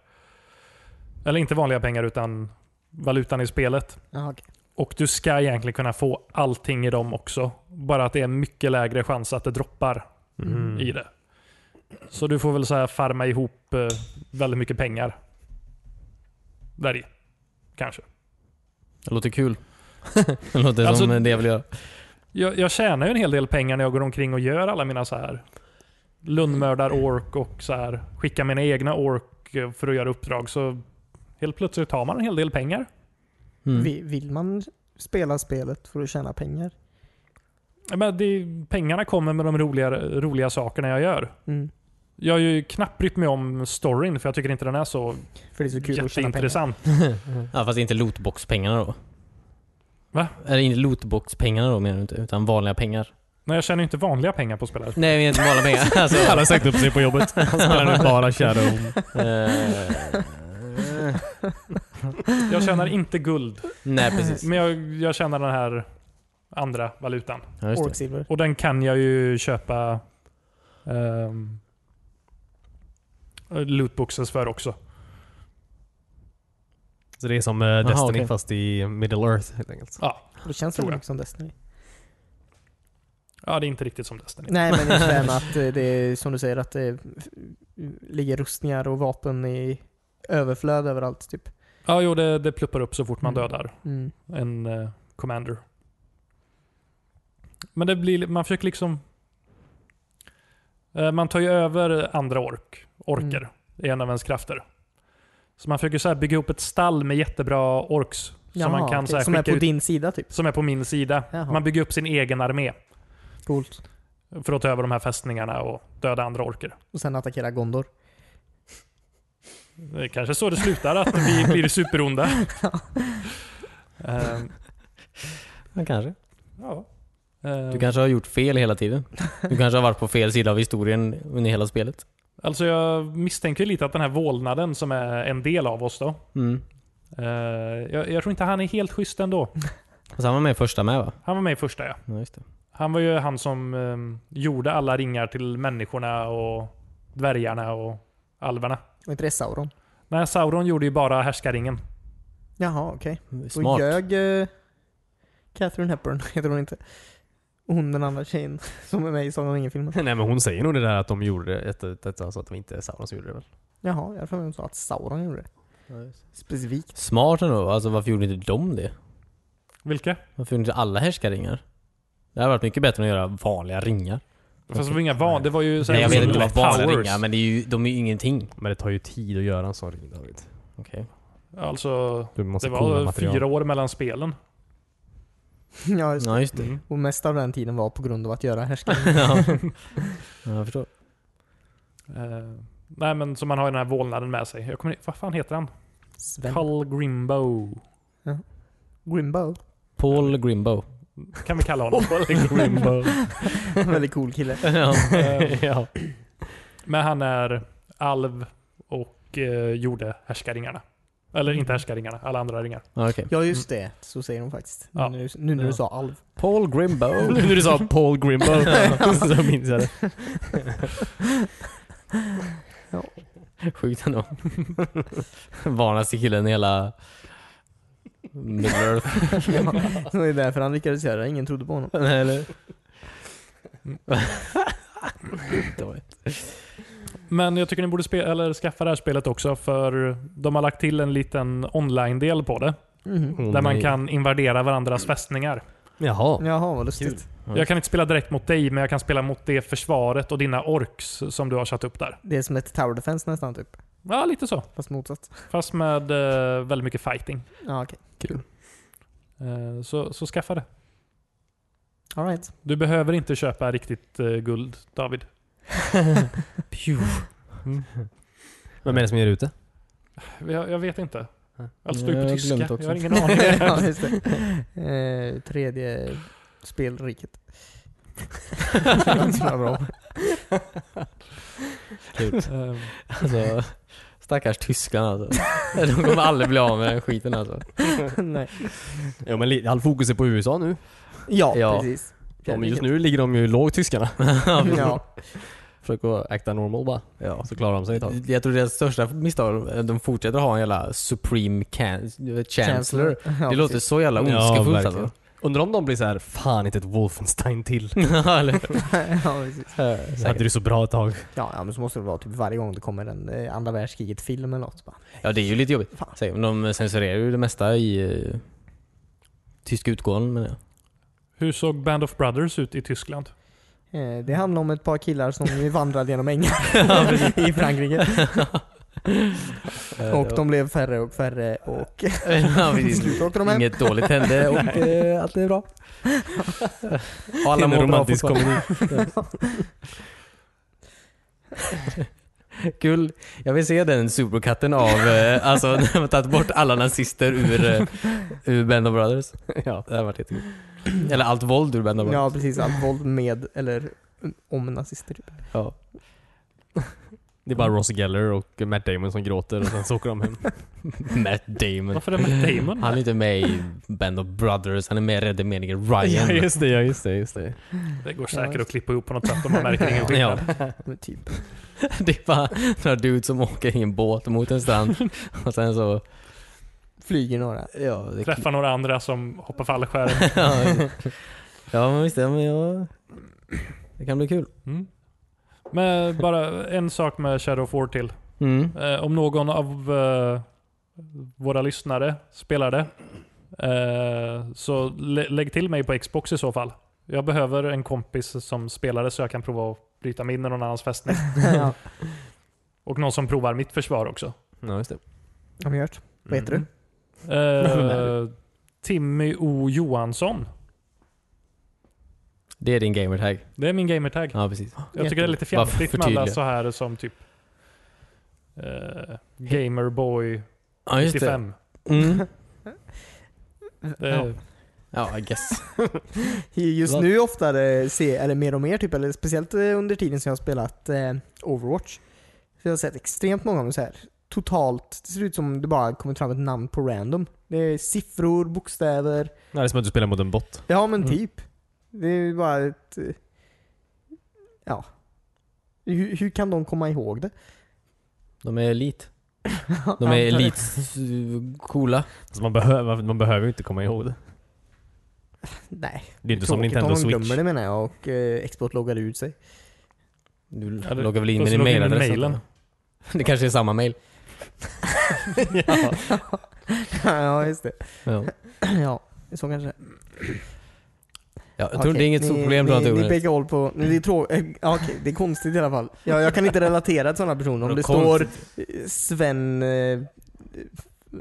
S1: Eller inte vanliga pengar utan valutan i spelet.
S2: Jaha, okej.
S1: Och du ska egentligen kunna få allting i dem också. Bara att det är mycket lägre chans att det droppar
S2: Mm.
S1: i det. Så du får väl så här farma ihop eh, väldigt mycket pengar. Där i. Kanske.
S4: Det låter kul. det låter
S1: Alltså-
S4: som det jag vill göra.
S1: Jag, jag tjänar ju en hel del pengar när jag går omkring och gör alla mina så här lundmördar
S2: Mm.
S1: ork och så här skickar mina egna ork eh, för att göra uppdrag. Så helt plötsligt har man en hel del pengar.
S4: Mm.
S2: Vi- Vill man spela spelet för att tjäna pengar?
S1: Ja, Men det, pengarna kommer med de roliga, roliga sakerna jag gör.
S2: Mm.
S1: Jag har ju knappt brytt mig om storyn för jag tycker inte den är så,
S2: För det är så kul att tjäna pengar.
S1: jätteintressant.
S4: Ja fast det är inte lootbox-pengarna då.
S1: Va?
S4: Är det inte lootbox-pengarna då menar du inte? Utan vanliga pengar?
S1: Nej, jag tjänar ju inte vanliga pengar på spelet.
S4: Nej, men inte vanliga pengar. Alltså,
S3: Alla har sagt upp sig på jobbet. Han spelar nu bara Shadow.
S4: Eh,
S1: Jag tjänar inte guld,
S4: Nej precis.
S1: men jag, jag tjänar den här andra valutan.
S4: Ja, just det.
S2: Orksilver.
S1: Och den kan jag ju köpa um, lootboxes för också.
S3: Så det är som eh, Destiny
S4: okej.
S3: fast i Middle Earth helt enkelt.
S1: Ja,
S2: Det känns
S1: Tror
S2: väl
S1: jag.
S2: mycket som Destiny.
S1: ja det är inte riktigt som Destiny.
S2: Nej men just det här med att eh, det är som du säger att det ligger rustningar och vapen i överflöd överallt typ.
S1: Ja, jo, det, det pluppar upp så fort man
S2: Mm.
S1: dödar
S2: Mm.
S1: en eh, commander. Men det blir, man försöker liksom... Eh, man tar ju över andra ork, orker.
S2: Mm.
S1: Det är en av ens krafter. Så man försöker så här bygga upp ett stall med jättebra orks.
S2: Jaha,
S1: som man kan
S2: okej.
S1: så här
S2: som är
S1: skicka
S2: på
S1: ut,
S2: din sida typ.
S1: som är på min sida.
S2: Jaha.
S1: Man bygger upp sin egen armé
S2: Coolt.
S1: för att ta över de här fästningarna och döda andra orker.
S2: Och sen attackera Gondor.
S1: Det är kanske så det slutar, att vi blir superonda. Ehm,
S4: Ja, kanske.
S1: ja.
S4: Du
S1: Ehm,
S4: kanske har gjort fel hela tiden. Du kanske har varit på fel sida av historien under hela spelet.
S1: Alltså jag misstänker lite att den här vålnaden som är en del av oss då.
S4: Mm.
S1: eh, jag, jag tror inte han är helt schysst ändå.
S4: Och så han var med i första med va?
S1: Han var med i första ja.
S4: Ja, just det.
S1: Han var ju han som eh, gjorde alla ringar till människorna och dvärgarna och alverna.
S2: Och inte det Sauron.
S1: Nej, Sauron gjorde ju bara härskaringen.
S2: Jaha okej.
S4: Smart.
S2: Och ljög eh, Catherine Hepburn, heter hon inte. Och hon den andra tjejen som är med i Sagan om ringen-filmen.
S3: Nej men hon säger nog det där att de gjorde det, ett, ett, ett, alltså att det inte är Sauron som gjorde det väl?
S2: Jaha, jag har för mig att hon sa att Sauron gjorde det. Specifikt.
S4: Smart ändå. Alltså varför gjorde inte de det?
S1: Vilka?
S4: Varför gjorde inte alla härskaringar? Det hade varit mycket bättre än att göra vanliga ringar.
S1: Fast det var inga van, det var ju så här-
S4: Nej, jag vet inte
S1: Black
S4: vad vanliga
S1: Towers.
S4: ringar men det är ju, de är ju ingenting.
S3: Men det tar ju tid att göra en sån ring David.
S4: Okej.
S1: Alltså,
S3: Du måste
S1: det
S3: coola
S1: var
S3: material.
S1: fyra år mellan spelen.
S2: ja, just det.
S4: Ja, just det.
S2: Och mest av den tiden var på grund av att göra härskare.
S4: ja. jag förstår.
S1: Eh, nej men som man har den här vålnaden med sig. Jag kommer, vad fan heter han?
S2: Sven.
S1: Carl Grimbo.
S2: Grimbo.
S4: Paul Grimbo.
S1: Kan vi kalla honom. Grimbo. Eh,
S2: Väldigt cool kille.
S4: ja.
S3: ja.
S1: Men han är alv och eh, gjorde härskaringarna. Eller inte härskaringarna, alla andra ringar.
S4: Okej.
S2: Ja just det, så säger hon faktiskt.
S1: Ja.
S2: Nu, nu när du
S3: Ja.
S2: sa alv.
S4: Paul Grimbo.
S3: nu när du sa Paul Grimbo så minns jag det.
S4: Sjukt ändå. Vanligaste killen i hela Middle Earth.
S2: Det är därför han lyckades göra det, ingen trodde på honom.
S4: Nej, Eller? Det var-
S1: Men jag tycker ni borde spe- eller skaffa det här spelet också för de har lagt till en liten online-del på det.
S2: Mhm.
S3: Mm,
S1: där man kan invadera varandras fästningar.
S3: Jaha.
S2: Jaha vad lustigt.
S4: Ja.
S1: Jag kan inte spela direkt mot dig, men jag kan spela mot det försvaret och dina orks som du har satt upp där.
S2: Det är som ett tower defense nästan typ.
S1: Ja, lite så.
S2: Fast motsatt.
S1: Fast med eh, väldigt mycket fighting.
S2: Ja okej.
S1: Eh, så, så skaffa det.
S2: Alright.
S1: Du behöver inte köpa riktigt eh, guld, David.
S3: Vem är det som ger ut det?
S1: Jag, jag vet inte.
S3: Nej.
S1: Allt står ju
S4: Jag
S1: på
S4: har
S1: tyska.
S4: glömt också.
S1: Jag har ingen
S2: ja,
S1: aning.
S2: just det. Eh, tredje spelriket. Ganska bra.
S4: Kul.
S1: Ehm,
S4: Alltså, stackars tyskarna alltså. De kommer aldrig bli av med den skiten alltså.
S2: Nej.
S3: Ja men li- all fokus är på USA nu.
S2: Ja,
S4: Ja.
S2: precis.
S3: Ja, men just nu ligger de ju lågt tyskarna.
S2: Ja.
S3: Försöker att acta normal bara.
S4: Ja.
S3: Så klarar de sig ett tag.
S4: Jag tror deras största misstag, eh, de fortsätter ha en jävla Supreme can- Chancellor. Det
S2: Ja,
S4: låter
S2: precis.
S4: så jävla ondskefullt
S3: verkligen.
S4: alltså.
S3: Undrar om de blir så här, fan inte ett Wolfenstein till.
S4: Ja, eller-
S2: ja, precis.
S3: Så hade du så bra ett tag.
S2: Ja, ja, men så måste det vara typ varje gång det kommer en eh, andra världskriget-film eller något. så Bara,
S4: ja, det är ju lite jobbigt.
S2: Fan.
S4: Säg, men De censurerar ju det mesta i eh, tyska utgåvan menar jag.
S1: hur såg Band of Brothers ut i Tyskland?
S2: Eh, Det handlar om ett par killar som vandrade genom ängar i Frankrike. Och de blev färre och färre och
S4: Eh, ja,
S2: till
S4: precis.
S2: slut åkte de hem.
S4: Inget dåligt hände och eh, allt är bra. Och alla
S3: Alla
S4: mår bra
S3: romantisk
S4: fortfarande.
S3: komedi.
S4: Kul. Jag vill se den superkatten av, eh, alltså när de har tagit bort alla nazister ur, eh, ur Band of Brothers.
S3: ja.
S4: Det har varit jättekul. Eller allt våld ur Band of Brothers.
S2: Ja precis, allt våld med eller om nazister typ.
S4: Ja.
S3: Det är bara Ross Geller och Matt Damon som gråter och sen så åker de hem.
S4: Matt Damon.
S1: Varför är Matt Damon
S4: Han är inte med i Band of Brothers, han är med i Rädda Meningen
S3: ja,
S4: Ryan.
S3: just det, ja, just det, just det.
S1: Det går säkert att klippa ihop på något sätt om man märker ingen skillnad.
S2: Men typ.
S4: Det är bara några dudes som åker i en båt mot en strand och sen så...
S2: Flyger några.
S4: Ja, det
S1: Träffa några andra som hoppar fallskärm.
S4: ja men visst, ja, men ja, det kan bli kul.
S1: Mm. Men bara en sak med Shadow of War till.
S4: Mm.
S1: Eh, om någon av eh, våra lyssnare spelar det, eh, så lä- lägg till mig på Xbox i så fall. Jag behöver en kompis som spelar det så jag kan prova att bryta mig in i någon annans fästning.
S2: ja.
S1: Och någon som provar mitt försvar också.
S3: Ja, just det.
S2: Har vi hört? Vad heter
S4: Mm.
S2: du?
S1: Eh, Timmy O Johansson.
S4: Det är din gamertag.
S1: Det är min gamertag.
S4: Ja precis.
S1: Jag tycker det är lite
S4: Bara
S1: fjantigt med
S4: förtydliga.
S1: alla så här som typ eh, Gamerboy
S4: Ja just det.
S1: 95.
S4: Mm.
S1: Det är,
S4: Ja, I guess.
S2: Just nu oftare se, eller mer och mer typ, eller speciellt eh, under tiden som jag har spelat eh, Overwatch. Så jag har sett extremt många gånger så här. Totalt, det ser ut som det bara kommer fram ett namn på random. Det är siffror, bokstäver.
S3: Ja, det är som att du spelar mot en bot.
S2: Ja men
S4: Mm.
S2: typ. Det är bara ett... eh, Ja. Hur, hur kan de komma ihåg det?
S4: De är elit. De
S2: Antar
S4: är
S2: det.
S4: elit coola.
S3: Alltså man, behöver, man behöver ju inte komma ihåg det.
S2: Nej.
S3: Det är inte som
S2: tråkigt
S3: Nintendo
S2: om de
S3: Switch.
S2: glömmer det menar jag och eh, export loggar ut sig.
S4: Du
S1: Ja, det-
S4: loggar väl in
S1: då
S4: med
S1: så
S4: din
S1: loggar jag in med
S4: mailadress?
S1: mailen.
S4: antar jag. Det kanske är samma mail.
S2: ja just det.
S4: Ja.
S2: ja, så kanske.
S4: Ja, jag tror
S2: Okej,
S4: det är inget stort
S2: ni,
S4: problem. tror
S2: Ni,
S4: jag,
S2: ni
S4: Tore.
S2: bägge håller på... nej, Det är, trå- eh, ja, okej, det är konstigt i alla fall. Jag, jag kan inte relatera till sådana personer. Om
S4: Vadå
S2: det står eh, Sven eh,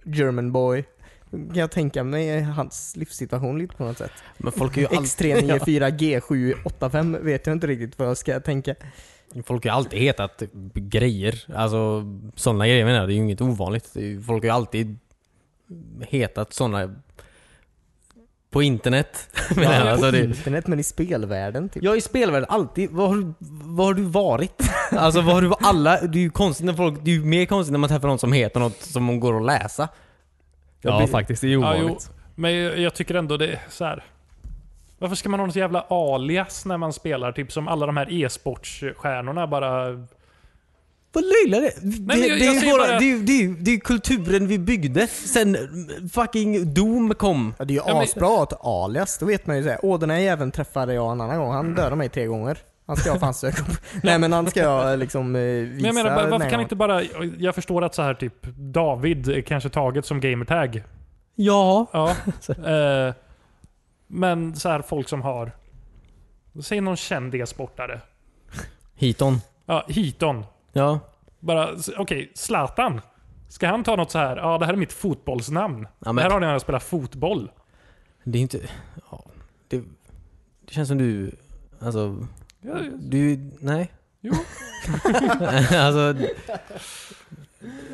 S2: Germanboy. Kan jag tänka mig hans livssituation lite på något sätt. E
S4: Men folk är ju alltid,
S2: X394G785 vet jag inte riktigt vad jag ska tänka.
S4: folk har ju alltid hetat grejer. Alltså sådana grejer menar jag. Det är ju inget ovanligt. Det är ju, folk har ju alltid hetat sådana på internet. menar jag. Alltså,
S2: på
S4: det,
S2: internet men i spelvärlden typ.
S4: Jag i spelvärlden alltid. Vad har, du- vad har du varit? Alltså vad har du alla? Det är ju konstigt när folk, det är ju mer konstigt när man träffar någon som heter något som man går att läsa.
S3: Ja, faktiskt. Det är ju
S1: Ja,
S3: ovanligt.
S1: jo. men jag jag tycker ändå det är så här. Varför ska man ha något jävla alias när man spelar? Typ som alla de här e-sportstjärnorna bara...
S4: Vad löjlar det?
S1: men
S4: det,
S1: jag-
S4: det,
S1: jag
S4: är ju
S1: ser
S4: våra,
S1: bara-
S4: det, är ju- det, är ju- det är ju kulturen vi byggde sen fucking Doom kom.
S2: Ja, det är ju
S1: Ja, men-
S2: asbra att ha alias, då vet man ju såhär. Åh den här jäveln träffade jag en annan gång, han dödade mig tre gånger. Han ska jag fan söka upp. Nej men han ska jag liksom eh, visa.
S1: Men jag menar, bara- varför
S2: nej,
S1: kan inte bara... Jag förstår att så här typ David är kanske taget som gamertag.
S4: Ja.
S1: Ja. eh, men så här folk som har... Säg någon känd e-sportare.
S4: Hiton.
S1: Ja, Hiton.
S4: Ja.
S1: Bara, s- okej, Zlatan. Ska han ta något så här? Ja, det här är mitt fotbollsnamn.
S4: Ja, men-
S1: Det här har ni när jag spelar fotboll.
S4: Det är inte... Ja, det, det känns som du... Alltså... Du... Nej.
S1: Jo.
S4: alltså...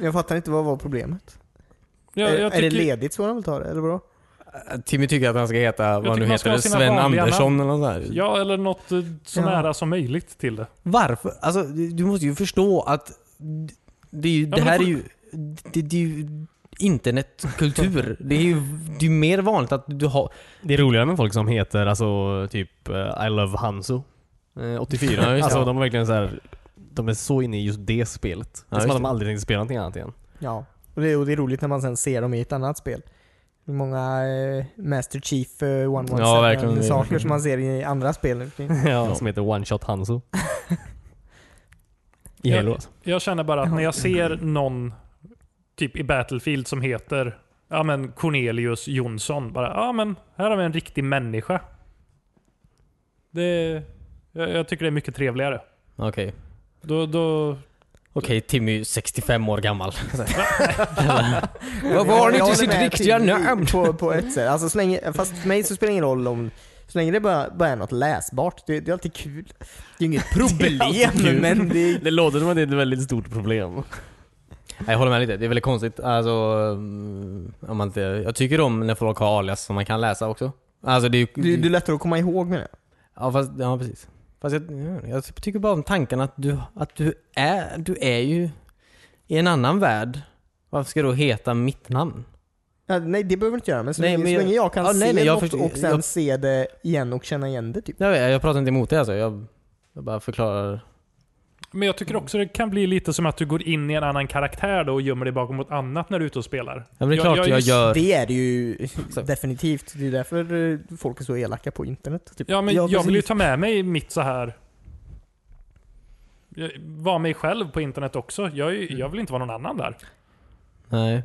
S2: Jag fattar inte vad var problemet.
S1: Jag,
S2: är,
S1: jag
S2: är det
S1: tycker,
S2: ledigt så får de väl ta det, eller vadå?
S4: Timmy tycker att han ska heta, vad
S1: tycker
S4: han nu
S1: man ska
S4: heter,
S1: ha sina
S4: Sven
S1: vanliga
S4: Andersson eller något sånt där.
S1: Ja, eller något eh, så
S2: Ja.
S1: nära som möjligt till det.
S4: Varför? Alltså, du du måste ju förstå att det, är ju,
S1: men
S4: det här
S1: då får-
S4: är ju, det, det är ju internetkultur. det är ju det är mer vanligt att du har...
S3: Det är roligare med folk som heter alltså typ eh, I love Hanzo. Eh, 84.
S4: Ja, just det.
S3: alltså de är verkligen så här. De är så inne i just det spelet. det
S4: Ja,
S3: är som
S4: just
S3: att de
S4: det.
S3: aldrig tänkte spela någonting annat igen.
S2: Ja. Och det, och det är roligt när man sen ser dem i ett annat spel. Hur många eh, Master Chief eh,
S4: Ja, verkligen.
S2: 117 saker som man ser i andra spel nu för tiden.
S3: ja. Som heter One Shot Hanzo. I
S1: Ja.
S3: Halo alltså.
S1: Jag känner bara att när jag ser någon typ i Battlefield som heter ja, men Cornelius Jonsson. Bara, ja men här har vi en riktig människa. Det, jag, jag tycker det är mycket trevligare.
S4: Okej.
S1: Då, då,
S4: Okej, Timmy 65 år gammal.
S2: Ja,
S4: Vad var det
S2: jag
S4: till
S2: håller
S4: sitt
S2: med
S4: riktiga
S2: till-
S4: namn?
S2: På, på ett sätt. Alltså, så länge, fast för mig så spelar det ingen roll om... Så länge det bara, bara är något läsbart. Det, det är alltid kul. Det är inget problem,
S3: kul.
S2: men det är...
S3: Det låter som att det är ett väldigt stort problem.
S4: Nej, Jag håller med lite. Det är väldigt konstigt. Alltså, mm, om man inte, jag tycker om när folk har alias som man kan läsa också. Alltså det är ju...
S2: Det, det är lättare att komma ihåg med det.
S4: ja, fast, ja, precis. Fast jag, jag tycker bara om tanken att du, att du är, du är ju i en annan värld. Varför ska du heta mitt namn?
S2: Ja, nej, det behöver du inte göra. Men så,
S4: Nej,
S2: länge,
S4: men
S2: så
S4: jag-
S2: länge jag kan
S4: ja,
S2: se
S4: nej, nej, jag
S2: något
S4: förstår-
S2: och sen
S4: jag-
S2: se det igen och känna igen det typ.
S4: Jag, vet, jag pratar inte emot det alltså. Jag, jag bara förklarar.
S1: Men jag tycker också det kan bli lite som att du går in i en annan karaktär då och gömmer dig bakom något annat när du är ute och spelar.
S4: Ja, men det är
S1: Jag-
S4: klart
S1: jag
S4: jag,
S1: är just-
S4: gör.
S2: Det är det ju
S4: Exakt.
S2: definitivt. Det är därför eh, folk är så elaka på internet. Typ.
S1: Ja, men
S4: Ja,
S1: jag vill ju
S4: precis.
S1: ta med mig mitt så här... Jag- Vara mig själv på internet också. Jag, är ju- jag vill inte vara någon annan där.
S4: Nej.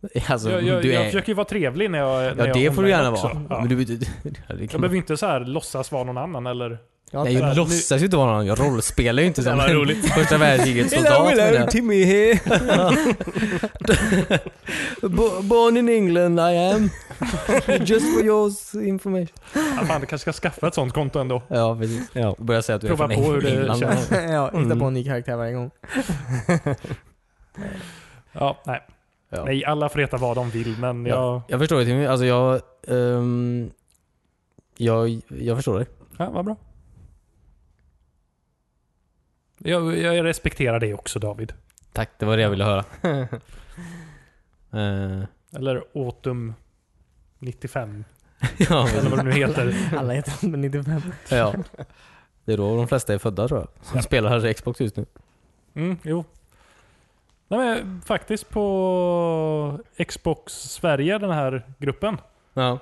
S4: Alltså,
S1: jag, jag,
S4: du
S1: jag
S4: är...
S1: försöker ju vara trevlig när jag när
S4: ja,
S1: jag
S4: det får du
S1: online
S4: gärna
S1: också.
S4: vara.
S1: Ja.
S4: Men du, du, du, det
S1: Jag
S4: kan,
S1: behöver ju inte så här låtsas vara någon annan eller...
S2: Ja,
S4: nej,
S1: nu-
S4: jag låtsas ju inte vara någon annan. Jag rollspelar ju inte som
S1: Jävla
S4: en
S1: roligt.
S4: första världskrigets soldat. men jag-
S3: Timmy here.
S4: Bo- Born in England I am. Just for your information.
S1: Ja, fan, du kanske ska skaffa ett sånt konto ändå.
S4: Ja, precis.
S3: Ja.
S4: Börja säga att du
S1: Prova
S4: är
S1: på
S4: från
S1: hur det
S4: England.
S1: känns.
S2: ja, hitta
S4: Mm.
S2: på en ny karaktär varje gång.
S1: Ja, nej.
S4: Ja.
S1: Nej, alla får heta vad de vill men jag...
S4: Jag förstår det Timmy. Alltså jag... ehm, jag, jag förstår dig.
S1: Ja, vad bra. Jag, jag respekterar det också David.
S4: Tack, det var det jag ville höra. Eh,
S1: Eller Autumn 95.
S4: ja,
S1: Eller vad det nu heter.
S4: Mm.
S2: Alla heter han, men inte vem.
S4: ja. Det är då de flesta är födda tror jag. Som spelar här i Xbox just nu.
S1: Mm, jo. Nej, men faktiskt på Xbox Sverige, den här gruppen.
S4: Ja.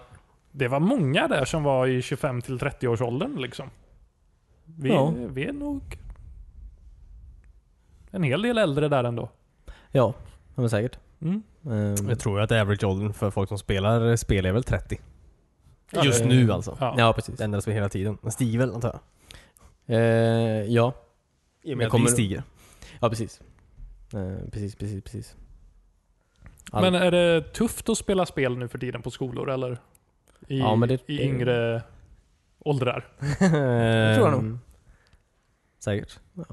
S1: Det var många där som var i 25 till 30 års åldern liksom. Vi,
S4: Ja.
S1: vi är nog en hel del äldre där ändå.
S4: Ja, ja, men säkert.
S1: Mm.
S4: Ehm,
S3: Jag tror att average åldern för folk som spelar eh, spel är väl 30.
S1: Ja,
S3: Just
S1: det-
S3: nu alltså.
S1: Ja.
S4: eh, ja, precis.
S3: Det ändras väl hela tiden. Den stiger väl antar jag?
S4: Eh, ja.
S3: I
S4: och med att vi
S3: stiger.
S4: ja, precis. Eh, precis, precis, precis. All-
S1: Men är det tufft att spela spel nu för tiden på skolor eller? I,
S4: Ja, men det-
S1: i yngre åldrar?
S3: det
S4: tror jag nog.
S3: Säkert.
S4: Ehm,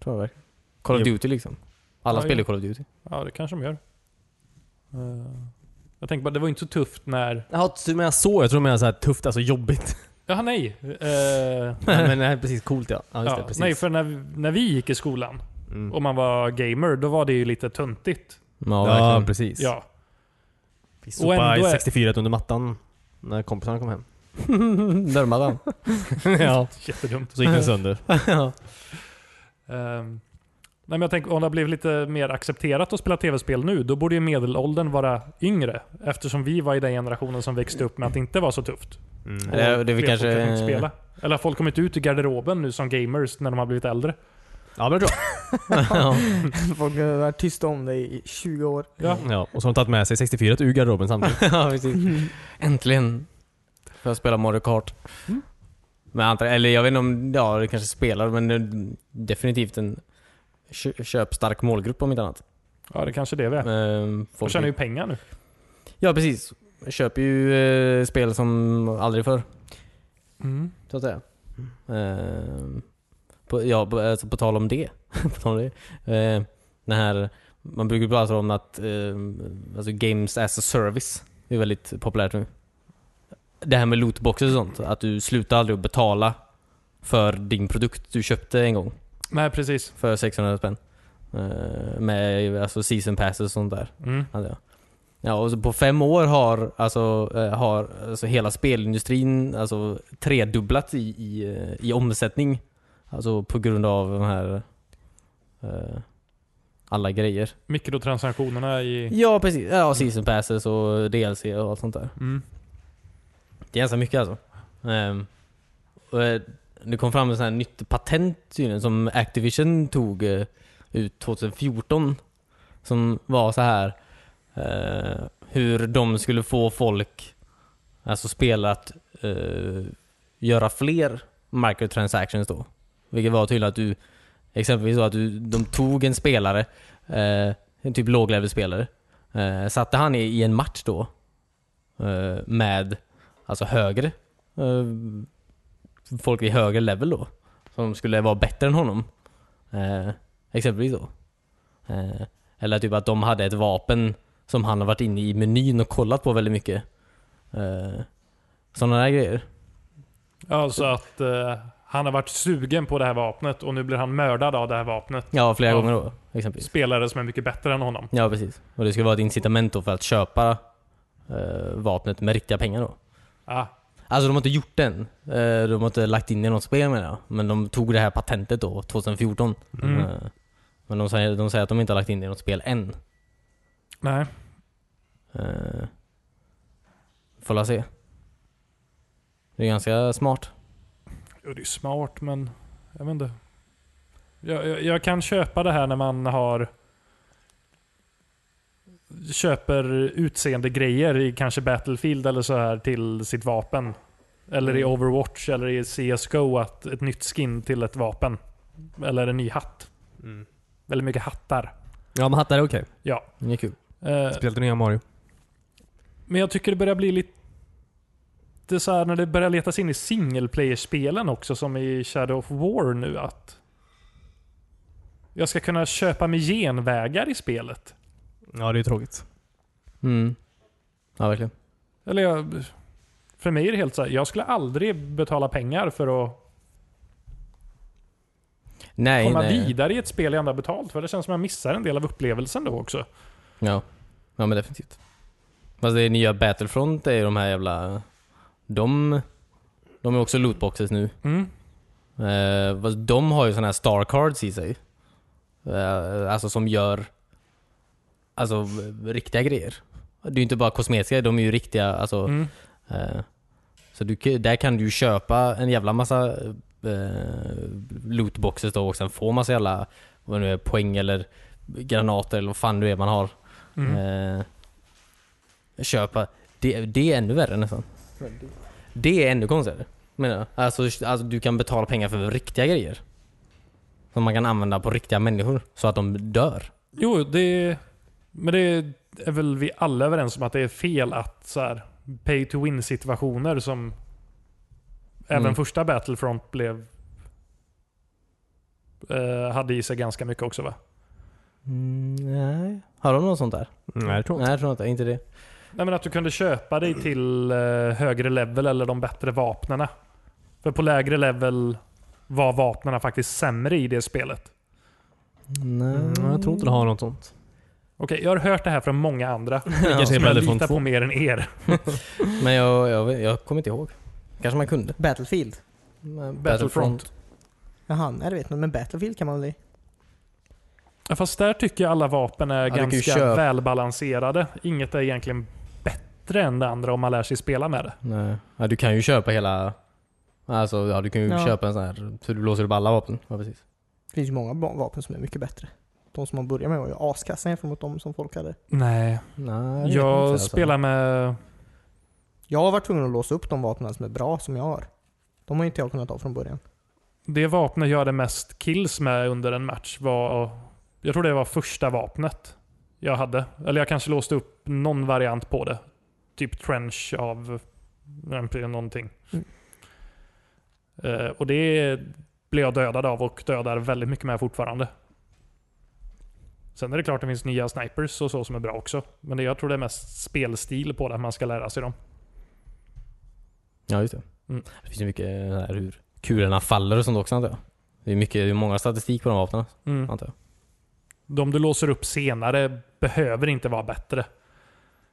S4: Tror jag verkligen. Call of
S3: Jo.
S4: Duty liksom. Alla
S1: Ja,
S4: spelar
S1: jo.
S4: Call of Duty.
S1: Ja, det kanske de gör. Eh, Jag tänker bara, det var ju inte så tufft när...
S3: Jaha, du menar så? Jag tror du menar såhär tufft, alltså jobbigt.
S1: Jaha, nej. Eh,
S3: nej, men nej, precis, coolt ja. Ja, just
S1: ja,
S3: det, precis.
S1: nej, för när, när vi gick i skolan
S3: Mm.
S1: och man var gamer, då var det ju lite töntigt.
S4: Ja,
S3: Ja,
S4: verkligen.
S3: precis.
S1: Ja.
S3: Vi
S1: Och
S3: sopade
S1: ändå är-
S3: 64 under mattan när kompisarna kom hem.
S4: Närmare den.
S3: ja.
S1: Jättedumt.
S3: Så gick den sönder.
S1: Ehm, nej, men jag tänker, om det har blivit lite mer accepterat att spela tv-spel nu, då borde ju medelåldern vara yngre. Eftersom vi var i den generationen som växte upp med att det inte var så tufft.
S4: Det är- det är vi
S1: Fler
S4: kanske-
S1: folk inte spela. Eller har folk kommit ut ur garderoben nu som gamers när de har blivit äldre?
S3: Ja, men det tror jag.
S2: Folk har varit tysta om dig i 20 år.
S1: Ja.
S4: Mm.
S3: Ja, och så har de tagit med sig 64 ur garderoben samtidigt.
S4: ja, precis. Äntligen får jag spela Mario Kart.
S1: Mm.
S4: Men antar, eller jag vet inte om, ja det kanske spelar men det är definitivt en kö- köpstark målgrupp om inte annat.
S1: Ja, det kanske det vi är.
S4: Ehm,
S1: De
S4: folk-
S1: tjänar ju pengar nu.
S4: Ja precis. Jag köper ju eh, spel som aldrig förr. Så att säga. Ehm, på, ja, på, alltså, på tal om det. på tal om det. Eh, den här, man brukar prata om att ehm, alltså games as a service är väldigt populärt nu. Det här med lootboxes och sånt. Att du slutar aldrig att betala för din produkt du köpte en gång
S1: Nej, precis.
S4: för 600 spänn. Eh, med alltså season passes och sånt där.
S1: Mm.
S4: hade jag. Ja, och så på fem år har, alltså, eh, har alltså, hela spelindustrin alltså, tredubblat i, i, eh, i omsättning. Alltså på grund av de här eh, alla grejer.
S1: Mikrotransaktionerna i...
S4: Ja, precis. Ja, season passes och DLC och allt sånt där.
S1: Mm.
S4: Det är ganska mycket alltså. Ehm, och, eh, det kom fram ett sånt här nytt patent tydligen som Activision tog eh, ut 2014. Som var så här eh, hur de skulle få folk, alltså spelare att eh, göra fler microtransactions då. Vilket var tydligen att du, exempelvis så att du, de tog en spelare, eh, en typ låglevelspelare, eh, satte han i, i en match då eh, med alltså högre eh, folk i högre level då. Som skulle vara bättre än honom. Eh, exempelvis då. Eh, eller typ att de hade ett vapen som han har varit inne i menyn och kollat på väldigt mycket. Eh, Sådana där grejer.
S1: Ja, så Alltså att eh, Han har varit sugen på det här vapnet och nu blir han mördad av det här vapnet.
S4: Ja, flera
S1: Ja.
S4: gånger då. Exempelvis.
S1: Spelare som är mycket bättre än honom.
S4: Ja, precis. Och det skulle vara ett incitament då för att köpa eh, vapnet med riktiga pengar då.
S1: Ah,
S4: Alltså de har inte gjort den. Eh, de har inte lagt in det i något spel menar jag. Men de tog det här patentet då, 2014.
S1: Mm.
S4: Eh, men de säger, de säger att de inte har lagt in det i något spel än.
S1: nej.
S4: Eh, får la se. Det är ganska smart.
S1: Jo, det är smart, men jag vet inte. Jag, jag, jag kan köpa det här när man har köper utseende grejer i kanske Battlefield eller så här till sitt vapen. Eller i Overwatch eller i CSGO att ett nytt skin till ett vapen. Eller en ny hatt.
S3: Mm.
S1: Väldigt mycket hattar.
S3: Ja men hattar är okej.
S1: Ja.
S4: Det är kul.
S1: Eh,
S3: Spelat det nya Mario.
S1: Men jag tycker det börjar bli lite så här när det börjar letas in i single player-spelen också som i Shadow of War nu att jag ska kunna köpa mig genvägar i spelet.
S3: Ja det är tråkigt.
S4: Mm. Ja, verkligen.
S1: Eller jag, för mig är det helt så här, jag skulle aldrig betala pengar för att
S4: Nej,
S1: komma
S4: nej.
S1: vidare i ett spel jag ändå har betalt för. Det känns som jag missar en del av upplevelsen då också.
S4: Ja. ja, men definitivt. Fast det nya Battlefront är ju de här jävla... De, de är också lootboxes nu.
S1: Mm.
S4: Eh, fast de har ju sådana här star cards i sig. Eh, alltså som gör alltså v- riktiga grejer. Det är ju inte bara kosmetiska, de är ju riktiga. Alltså,
S1: Mm.
S4: eh, så du, kan- där kan du ju köpa en jävla massa eh, lootboxes då och sen få massa jävla vad det nu är, poäng eller granater eller vad fan det är man har.
S1: Mm.
S4: Eh, köpa. Det, det är ännu värre nästan. Det är ännu konstigare. Menar jag. Alltså, alltså du kan betala pengar för riktiga grejer. Som man kan använda på riktiga människor så att de dör.
S1: Jo, det, men det är väl vi alla överens om att det är fel att så här, pay to win situationer som även
S4: Mm.
S1: första Battlefront blev eh, hade i sig ganska mycket också va?
S4: Mm, nej. Har de något sånt där?
S3: Nej det tror
S4: Nej jag tror inte inte det.
S1: Nej men att du kunde köpa dig till eh, högre level eller de bättre vapnena. För på lägre level var vapnena faktiskt sämre i det spelet.
S4: Nej.
S3: Mm, jag tror inte det har något sånt.
S1: Okej, jag har hört det här från många andra.
S3: kanske är
S1: Som jag
S3: Battlefront
S1: litar
S3: 2.
S1: på mer än er.
S4: Men jag, jag, vet- jag kommer inte ihåg. Kanske man kunde.
S2: Battlefield.
S4: Men
S1: Battlefront.
S2: Jaha, nej det vet man. Men Battlefield kan man väl i?
S1: Ja, fast där tycker jag alla vapen är
S4: du kan ju
S1: ganska
S4: köpa-
S1: välbalanserade. Inget är egentligen bättre än det andra om man lär sig spela med det.
S4: Nej. Ja, du kan ju köpa hela... Alltså ja, du kan ju
S2: Ja.
S4: köpa en sån här... Så du låser upp alla vapen. Ja, precis.
S2: Det finns ju många ba- vapen som är mycket bättre. De som man börjar med var ju askassa jämfört mot de som folk hade.
S1: Nej,
S4: Nej, det
S1: jag,
S4: vet inte, alltså.
S1: spelar med...
S2: Jag har varit tvungen att låsa upp de vapen som är bra som jag har. De har ju inte jag kunnat ha från början.
S1: Det vapnet jag hade mest kills med under en match var... Jag tror det var första vapnet jag hade. Eller jag kanske låste upp någon variant på det. Typ trench av eh, någonting.
S2: Mm.
S1: Eh, och det blev jag dödad av och dödar väldigt mycket med fortfarande. Sen är det klart det finns nya snipers och så som är bra också. Men det, jag tror det är mest spelstil på det, att man ska lära sig dem.
S4: Ja, just det.
S1: Mm.
S4: Det finns ju mycket eh, här hur kulorna faller och sånt också antar jag. Det är mycket, det är många statistik på de vapnen
S1: Mm.
S4: antar jag.
S1: De du låser upp senare behöver inte vara bättre.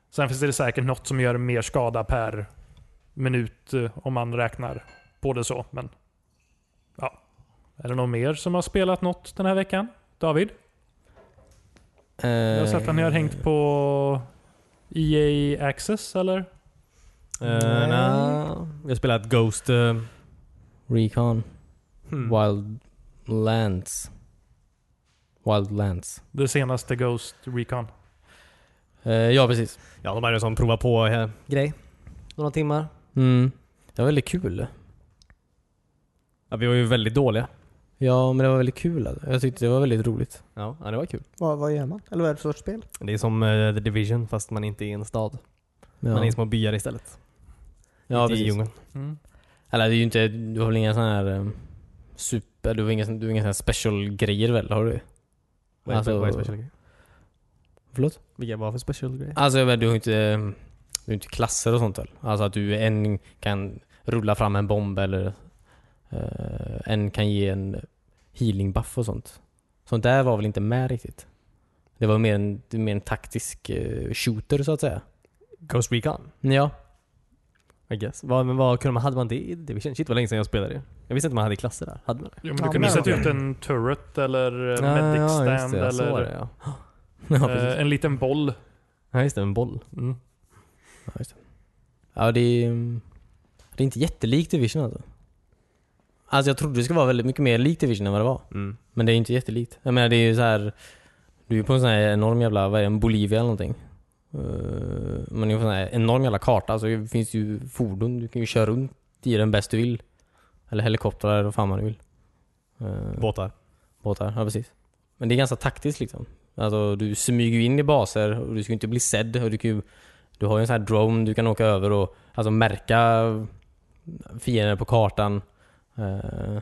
S1: Sen finns det säkert något som gör mer skada per minut eh, om man räknar på det så. Men ja. Är det någon mer som har spelat något den här veckan? David? Jag har sett att ni har hängt på EA Access eller?
S3: Eh, nej. Jag spelat Ghost... eh,
S4: Recon.
S3: hmm.
S4: Wildlands. Wildlands.
S1: Det senaste Ghost Recon?
S4: Eh, ja, precis.
S3: Ja de här är som provar på eh, grej. Några timmar.
S4: Mm. Det var väldigt kul.
S3: Ja, vi var ju väldigt dåliga.
S4: Ja, men det var väldigt kul. alltså. Jag tyckte det var väldigt roligt.
S3: Ja, ja det var kul.
S2: Vad, vad gör man? Eller vad är det för sorts spel?
S3: Det är som eh, The Division fast man inte är i en stad. Man är i
S4: Ja,
S3: små byar istället.
S4: ja
S3: Ute i
S4: precis.
S3: djungeln.
S1: Mm.
S4: Eller det är ju inte, du har väl inga sån här eh, super, du har inga, sån- du har inga sån här special-grejer väl? Har du det?
S3: Vad är,
S4: Alltså-
S3: vad är special grejer?
S4: Förlåt?
S3: Vilka var för special grejer?
S4: Alltså jag menar, du har inte, du har inte klasser och sånt väl? Alltså att du en kan rulla fram en bomb eller eh, en kan ge en healing buff och sånt. Sånt där var väl inte med riktigt. Det var mer en, mer en taktisk eh, shooter så att säga.
S3: Ghost Recon.
S4: Ja,
S3: I guess. Vad, men vad kunde man, hade man det i Division? Shit vad länge sedan jag spelade det. Jag visste inte man hade klasser där. Hade man det?
S1: Jo, men du
S2: Ja,
S1: kunde ju
S2: men-
S1: sätta ut en turret eller eh,
S3: Ah,
S1: medic
S3: ja, just
S1: stand
S3: det, ja, så var
S1: eller
S3: det, ja. Ja, precis.
S1: eh, en liten boll.
S3: ja, just det. En boll.
S1: Mm.
S4: Ja, just det. Ja, det är, mm, det är inte jättelikt Division alltså. Alltså jag trodde det skulle vara väldigt mycket mer likt Division än vad det var.
S3: Mm.
S4: Men det är inte jättelikt. Jag menar det är ju så här. Du är ju på en sån här enorm jävla, vad är det, en Bolivia eller någonting. Eh, Men det är på en sån här enorm jävla karta. Alltså det finns ju fordon. Du kan ju köra runt i den bäst du vill. Eller helikoptrar eller vad fan man vill. Eh,
S3: Båtar.
S4: båtar. Ja, precis. Men det är ganska taktiskt liksom. Alltså, du smyger ju in i baser och du ska ju inte bli sedd. Och du, kan ju, du har ju en sån här drone du kan åka över och alltså, märka fiender på kartan. Eh,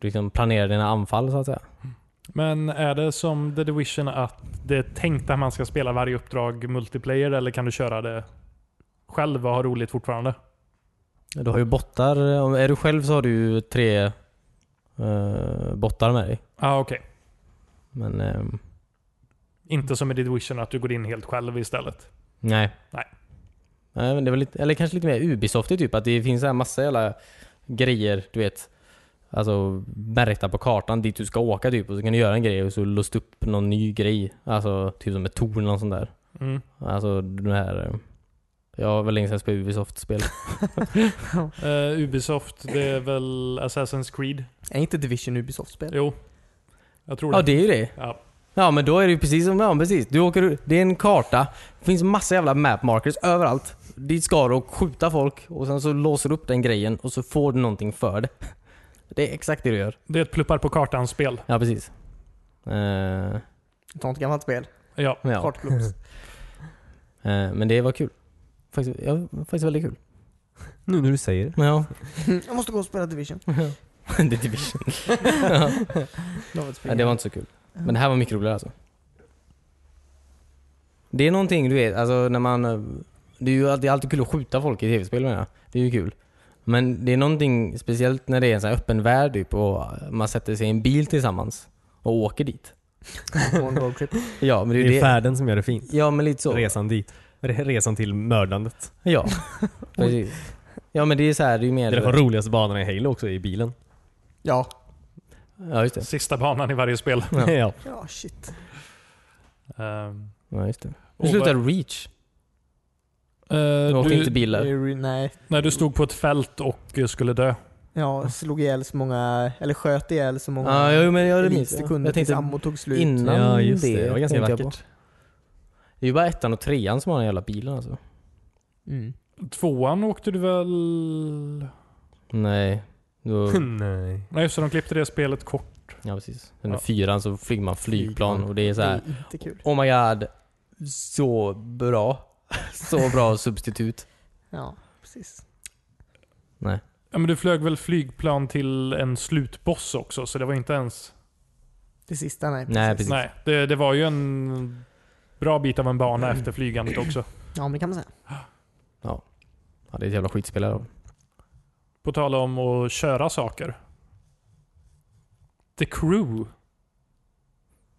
S4: du liksom planerar dina anfall så att säga.
S1: Men är det som The Division att det är tänkt att man ska spela varje uppdrag multiplayer eller kan du köra det själv och ha roligt fortfarande?
S4: Du har ju bottar. Om- Är du själv så har du ju tre eh, bottar med dig.
S1: Ja, ah, okej.
S4: Men ehm,
S1: Inte som i The Division att du går in helt själv istället.
S4: Nej.
S1: Nej.
S4: Nej men det var lite, eller kanske lite mer Ubisoft typ, att det finns så här massa jävla grejer, du vet. Alltså märkta på kartan dit du ska åka typ och så kan du göra en grej och så låst upp någon ny grej. Alltså typ som ett torn eller något sånt där.
S1: Mm.
S4: Alltså den här... eh, Jag har väl länge sedan jag spelade Ubisoft-spel.
S1: Eh, Ubisoft, det är väl Assassin's Creed?
S2: Är inte Division Ubisoft-spel?
S1: Jo. Jag tror
S4: ja
S1: det.
S4: det är ju det.
S1: Ja.
S4: Ja men då är det ju precis som, ja precis. Du åker, ut- det är en karta. Det finns massa jävla map markers överallt. Dit ska du och skjuta folk och sen så låser du upp den grejen och så får du någonting för det. Det är exakt det du gör.
S1: Det är ett pluppar på kartan-spel.
S4: Ja precis. Eh,
S2: Ett sånt gammalt spel.
S1: Ja.
S4: men ja.
S2: Kartklubs.
S4: Eh, men det var kul. Faktiskt, ja, faktiskt väldigt kul.
S3: Nu när du säger det.
S4: Men Ja.
S2: Jag måste gå och spela Division.
S4: The Division.
S2: Det var, ett spel.
S4: Nej, det var inte så kul. Men det här var mycket roligare alltså. Det är någonting du vet, alltså när man... eh, Det är ju alltid, det är alltid kul att skjuta folk i tv-spel menar jag. Det är ju kul. Men det är någonting speciellt när det är en sån här öppen värld typ och man sätter sig i en bil tillsammans och åker dit.
S2: På en roadtrip.
S4: Ja, men det
S3: Det
S4: är
S3: är
S4: ju det.
S3: färden som gör det fint.
S4: Ja, men lite så.
S3: Resan dit. Re- Resan till mördandet.
S4: Ja. Precis. Ja, men det är så här, det är ju
S3: Det
S4: mer...
S3: är de roligaste banorna i Halo också, i bilen.
S2: Ja.
S4: Ja, just det.
S1: Sista banan i varje spel.
S4: Ja.
S3: ja.
S2: Ja, shit.
S1: Ehm,
S4: Ja, just det. Hur
S1: Ove.
S4: slutade Reach? Du
S1: eh,
S4: åkte
S1: du,
S4: inte bil där.
S2: Re- Nej.
S1: när du stod på ett fält och eh, skulle dö.
S2: Ja, slog ihjäl så många, eller sköt ihjäl så många
S4: Ja, jo, men jag minns det.
S2: elitekunder
S4: Jag
S2: tills
S4: tänkte
S2: ammo tog slut.
S4: innan
S3: ja, just det.
S4: det.
S3: Det var ganska
S4: tänkte jag
S3: vackert.
S4: på. Det är ju bara ettan och trean som har den jävla bilen alltså.
S2: Mm.
S1: Tvåan åkte du väl...
S4: Nej. Då,
S3: Hm, Nej.
S1: Nej just det, de klippte det spelet kort.
S4: ja precis. Under
S1: Ja.
S4: fyran så flyger man flygplan
S3: Flygplan.
S4: och det är så
S2: Det
S4: här.
S2: är inte kul.
S4: Oh my god. Så bra. Så bra substitut.
S2: Ja, precis.
S1: Ja, men du flög väl flygplan till en slutboss också, så det var inte ens...
S2: Det sista, nej.
S4: Nej, precis.
S1: Nej, det, det var ju en bra bit av en bana
S3: Mm.
S1: efter flygandet också.
S2: Ja, men det kan man säga.
S4: Ja, det är ett jävla skitspel här då.
S1: På tal om att köra saker. The Crew.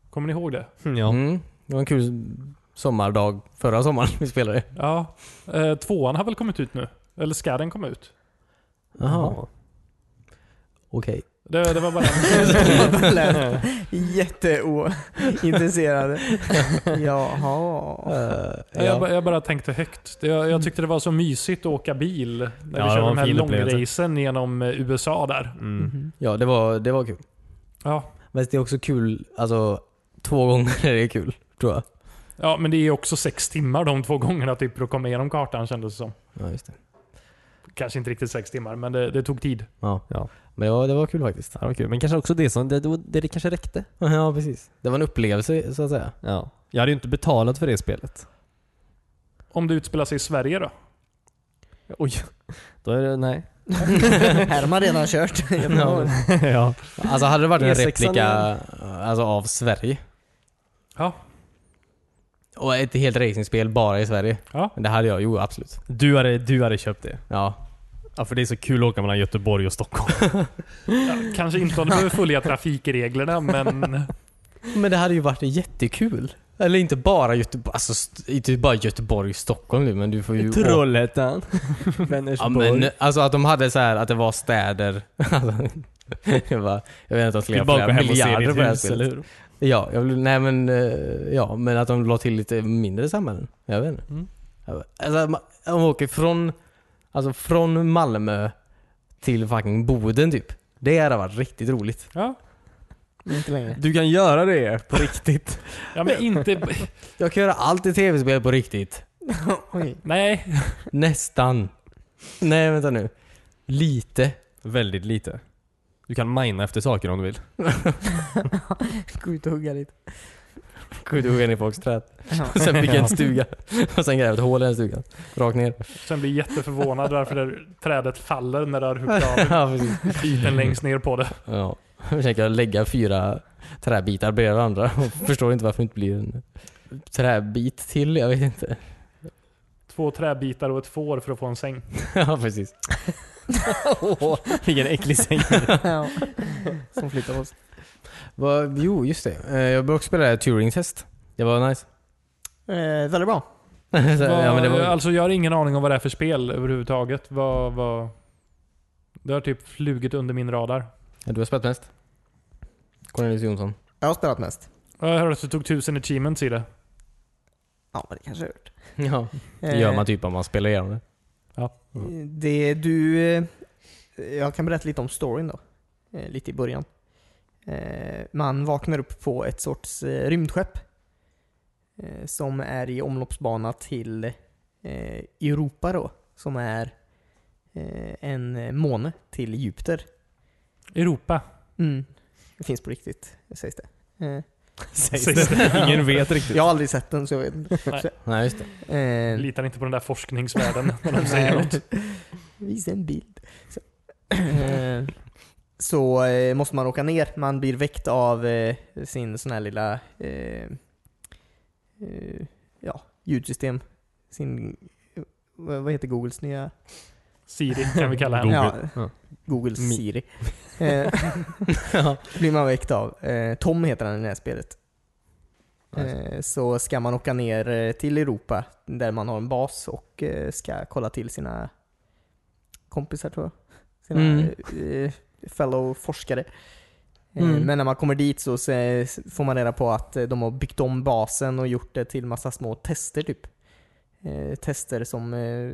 S1: Kommer ni ihåg det?
S3: Hm, Ja.
S4: Mm. Det var en kul sommardag förra sommaren vi spelade.
S1: Ja. Eh, tvåan har väl kommit ut nu? Eller ska den komma ut?
S4: Jaha. Okej.
S1: Det, det var bara
S2: Det lät Jätteointresserade. Jaha.
S4: Eh,
S1: jag,
S4: ja.
S1: ba- jag bara tänkte högt. Det- Jag, jag tyckte det var så mysigt att åka bil när
S3: Mm. Ja, det
S1: vi körde
S3: var
S1: den
S3: en
S1: här
S3: fin upplevelse.
S1: långracen genom eh, USA där.
S3: Mm.
S2: Mhm.
S4: ja, det var, det var kul.
S1: Ja.
S4: Men det är också kul, alltså två gånger är det kul, tror jag.
S1: Ja, men det är också sex timmar de två gångerna typ för att komma igenom kartan kändes det som.
S4: Ja, just det.
S1: Kanske inte riktigt sex timmar, men det, det tog tid.
S4: Ja.
S3: Ja.
S4: Men det var, det var kul faktiskt.
S3: Ja, det var kul. Men kanske också det som, det, det, var- det, det kanske räckte.
S4: Ja, precis. Det var en upplevelse så att säga.
S3: Ja. Jag hade ju inte betalat för det spelet.
S1: Om det utspelar sig i Sverige då?
S3: Oj. Då är det, nej.
S2: Här har man redan kört.
S4: Ja.
S3: ja.
S4: Alltså hade det varit en
S3: E6an
S4: replika alltså, av Sverige.
S1: Ja.
S4: Och ett helt racingspel bara i Sverige.
S1: Ja.
S4: Det hade jag, jo absolut.
S3: Du hade, du hade köpt det.
S4: Ja.
S3: Ja, för det är så kul att åka mellan Göteborg och Stockholm.
S1: Ja, kanske inte om du behöver följa trafikreglerna, men
S4: Men det hade ju varit jättekul. Eller inte bara Göteborg, alltså st- inte bara Göteborg, Stockholm nu men du får ju åka-
S3: Trollhättan.
S4: Ja,
S3: Vänersborg.
S4: men, alltså att de hade så här att det var städer. Alltså, jag, bara, jag vet inte om de
S3: Vill
S4: skulle
S3: bara
S4: flera
S3: åka hem och se
S4: miljarder
S3: ditt
S4: på det här
S3: hus, eller
S4: spelet.
S3: hur?
S4: Ja, jag, vill- nej men, eh, ja, men att de la till lite mindre samhällen. Jag vet inte.
S3: Mm.
S4: Jag bara- Alltså, ma- de åker från, alltså, från Malmö till fucking Boden typ. Det hade varit riktigt roligt.
S1: ja.
S2: Men inte längre.
S3: Du kan göra det på riktigt.
S1: ja men inte...
S4: Jag kan göra allt i tv-spel på riktigt.
S2: Oj.
S1: Nej.
S4: Nästan. Nej vänta nu. Lite.
S3: Väldigt lite. Du kan mina efter saker om du vill.
S2: Gå ut och hugga lite.
S4: Gud, du in i folks träd.
S2: Ja.
S4: Och sen bygga en stuga. Och sen gräva ett hål i den stugan. Rakt ner.
S1: Sen blir jag jätteförvånad varför det, trädet faller när du har huggit av
S4: ja, precis.
S1: biten längst ner på det.
S4: Ja. Jag tänker lägga fyra träbitar bredvid varandra och förstår inte varför det inte blir en träbit till. Jag vet inte.
S1: Två träbitar och ett får för att få en säng.
S4: Ja, precis.
S3: Vilken äcklig säng.
S2: Ja. Som flyttar på oss.
S4: Vad- Jo, just det. Eh, Jag började också spela det här Turing-test. Det var nice.
S2: Eh, väldigt bra.
S4: Så, ja, men det var...
S1: Alltså jag har ingen aning om vad det är för spel överhuvudtaget. Vad, vad... Det har typ flugit under min radar.
S4: Ja, Du har spelat mest? Cornelius Jonsson.
S2: Jag har spelat mest.
S1: Jag hörde att du tog tusen achievements i det.
S2: Ja, men det kanske jag har gjort.
S4: Ja. Det
S2: Eh,
S4: gör man typ om man spelar igenom det.
S2: Det du... eh, Jag kan berätta lite om storyn då. Eh, Lite i början. Eh, Man vaknar upp på ett sorts eh, rymdskepp. eh, Som är i omloppsbana till eh, Europa då. Som är eh, en måne till Jupiter.
S1: Europa.
S2: Mm. Det finns på riktigt, sägs det. Eh,
S3: Sägs
S1: Sägs
S3: det. Ingen vet riktigt.
S2: Jag har aldrig sett den så jag vet inte.
S4: Nej, just det.
S2: Eh,
S1: Litar inte på den där forskningsvärlden när de säger
S2: Nej.
S1: något.
S2: Visa en bild. Så, Eh, så eh, måste man åka ner. Man blir väckt av eh, sin sån här lilla eh, eh, ja, ljudsystem. Sin, eh, vad vad heter Googles nya?
S1: Siri kan vi kalla henne.
S3: Google.
S2: Ja,
S4: Ja.
S2: Google
S4: Mi-
S2: Siri. Eh, blir man väckt av. Eh, Tom heter han i det här spelet. Eh, så ska man åka ner eh, till Europa där man har en bas och eh, ska kolla till sina kompisar tror jag. Sina
S4: Mm.
S2: eh, fellow forskare. Eh,
S4: Mm.
S2: Men när man kommer dit så se- får man reda på att eh, de har byggt om basen och gjort det till massa små tester typ. Eh, Tester som eh,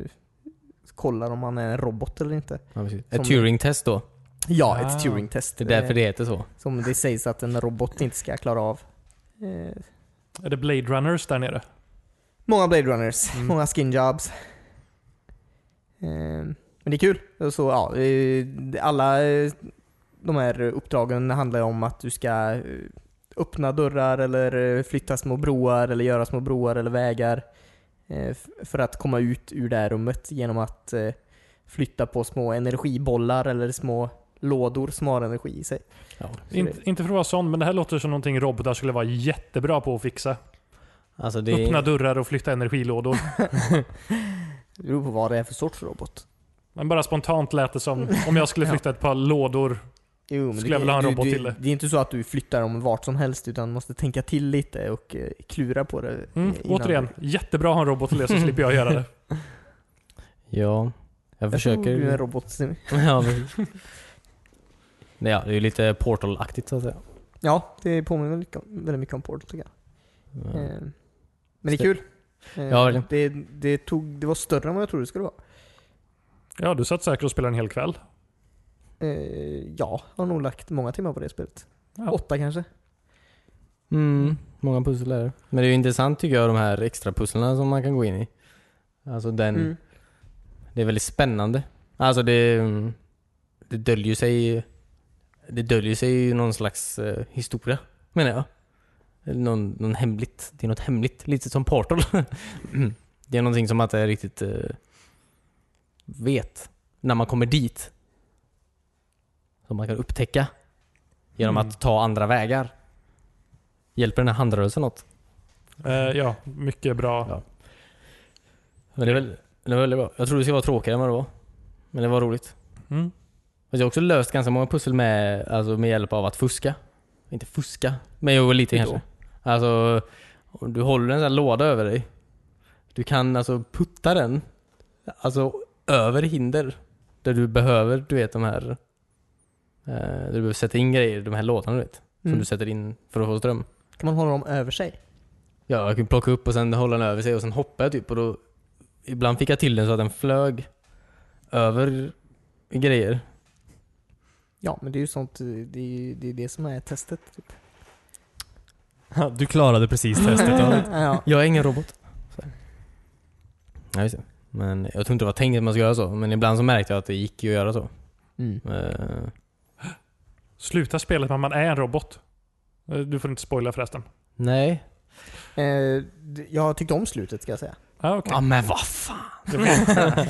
S2: kollar om man är en robot eller inte.
S4: Ja, precis.
S2: Som-
S4: Ett Turing-test då.
S2: Ja,
S1: Ah.
S2: ett Turing-test.
S4: Det är därför
S2: eh,
S4: det heter så.
S2: Som det sägs att en robot inte ska klara av. Eh,
S1: Är det Blade Runners där nere?
S2: Många Blade Runners,
S1: Mm.
S2: många skin jobs. Ehm, Men det är kul. Och Så, ja, eh, alla eh, de här uppdragen handlar om att du ska eh, öppna dörrar eller eh, flytta små broar eller göra små broar eller vägar eh, f- för att komma ut ur det här rummet genom att eh, flytta på små energibollar eller små lådor som har energi i sig.
S4: Ja.
S2: Så
S1: Inte, inte för att vara sån, men det här låter som någonting robotar skulle vara jättebra på att fixa.
S4: Alltså det är...
S1: Öppna dörrar och flytta energilådor.
S2: Det beror på vad det är för sorts robot.
S1: Men bara spontant lät det som om jag skulle flytta ett par lådor.
S2: Jo, men
S1: Skulle jag vilja ha en
S2: du,
S1: robot
S2: du,
S1: till det.
S2: Det är inte så att du flyttar dem vart som helst utan måste tänka till lite och eh, klura på det. eh,
S1: Mm,
S2: innan.
S1: återigen, jättebra att ha en robot till det så slipper jag göra det.
S4: Ja, jag
S2: Jag försöker.
S4: försöker...
S2: Du är en robot. Sim.
S4: ja, precis. Nej, ja, det är ju lite portal-aktigt så att säga.
S2: Ja, det påminner mycket om- väldigt mycket om Portal tycker jag.
S4: Ja.
S2: Eh, Men det är kul. Eh,
S4: Ja, verkligen.
S2: det, det, tog, det var större än vad jag trodde det skulle vara.
S1: Ja, du satt säkert och spelade en hel kväll.
S2: Eh, ja, jag har nog lagt många timmar på det spelet.
S1: Ja.
S2: Åtta kanske.
S4: Mm, många pussel är det. Men det är ju intressant tycker jag de här extra pusslen som man kan gå in i. Alltså den...
S2: Mm.
S4: Det är väldigt spännande. Alltså det... mm, Det döljer sig... Det döljer sig ju någon slags eh, historia, menar jag. Eller någon, någon hemligt. Det är något hemligt. Lite som Portal. det är någonting som man inte riktigt eh, vet när man kommer dit. Som man kan upptäcka genom
S1: Mm.
S4: att ta andra vägar. Hjälper den här handrörelsen något?
S1: Eh, ja, mycket bra.
S4: Ja. Men det är väl, det är väldigt bra. Jag tror det ska vara tråkigare än vad det var. Men det var roligt.
S1: Mm.
S4: Fast jag har också löst ganska många pussel med, alltså med hjälp av att fuska. Inte fuska, men jo lite
S1: Hur
S4: kanske. Alltså, om du håller en sån här låda över dig. Du kan alltså putta den, alltså över hinder. Där du behöver, du vet de här, eh, där du behöver sätta in grejer, de här låtarna du vet. Som
S2: Mm.
S4: du sätter in för att få ström.
S2: Kan man hålla dem över sig?
S4: Ja, jag kunde plocka upp och sen hålla den över sig och sen hoppade jag typ och då Ibland fick jag till den så att den flög över grejer.
S2: Ja, men det är ju sånt, eh, det är ju det, är det som är testet. Typ.
S3: Du klarade precis testet. ja.
S2: ja.
S4: Jag är ingen robot. Så. Ja, just det. Men jag tror inte det var tänkt att man skulle göra så, men ibland så märkte jag att det gick ju att göra så.
S2: Mm.
S4: Eh,
S1: Sluta spelet med att man är en robot. Eh, Du får inte spoila förresten.
S4: nej.
S2: Eh, d- jag tyckte om slutet ska jag säga.
S1: Ah, okay.
S4: Ja men vad fan.
S1: Du vet-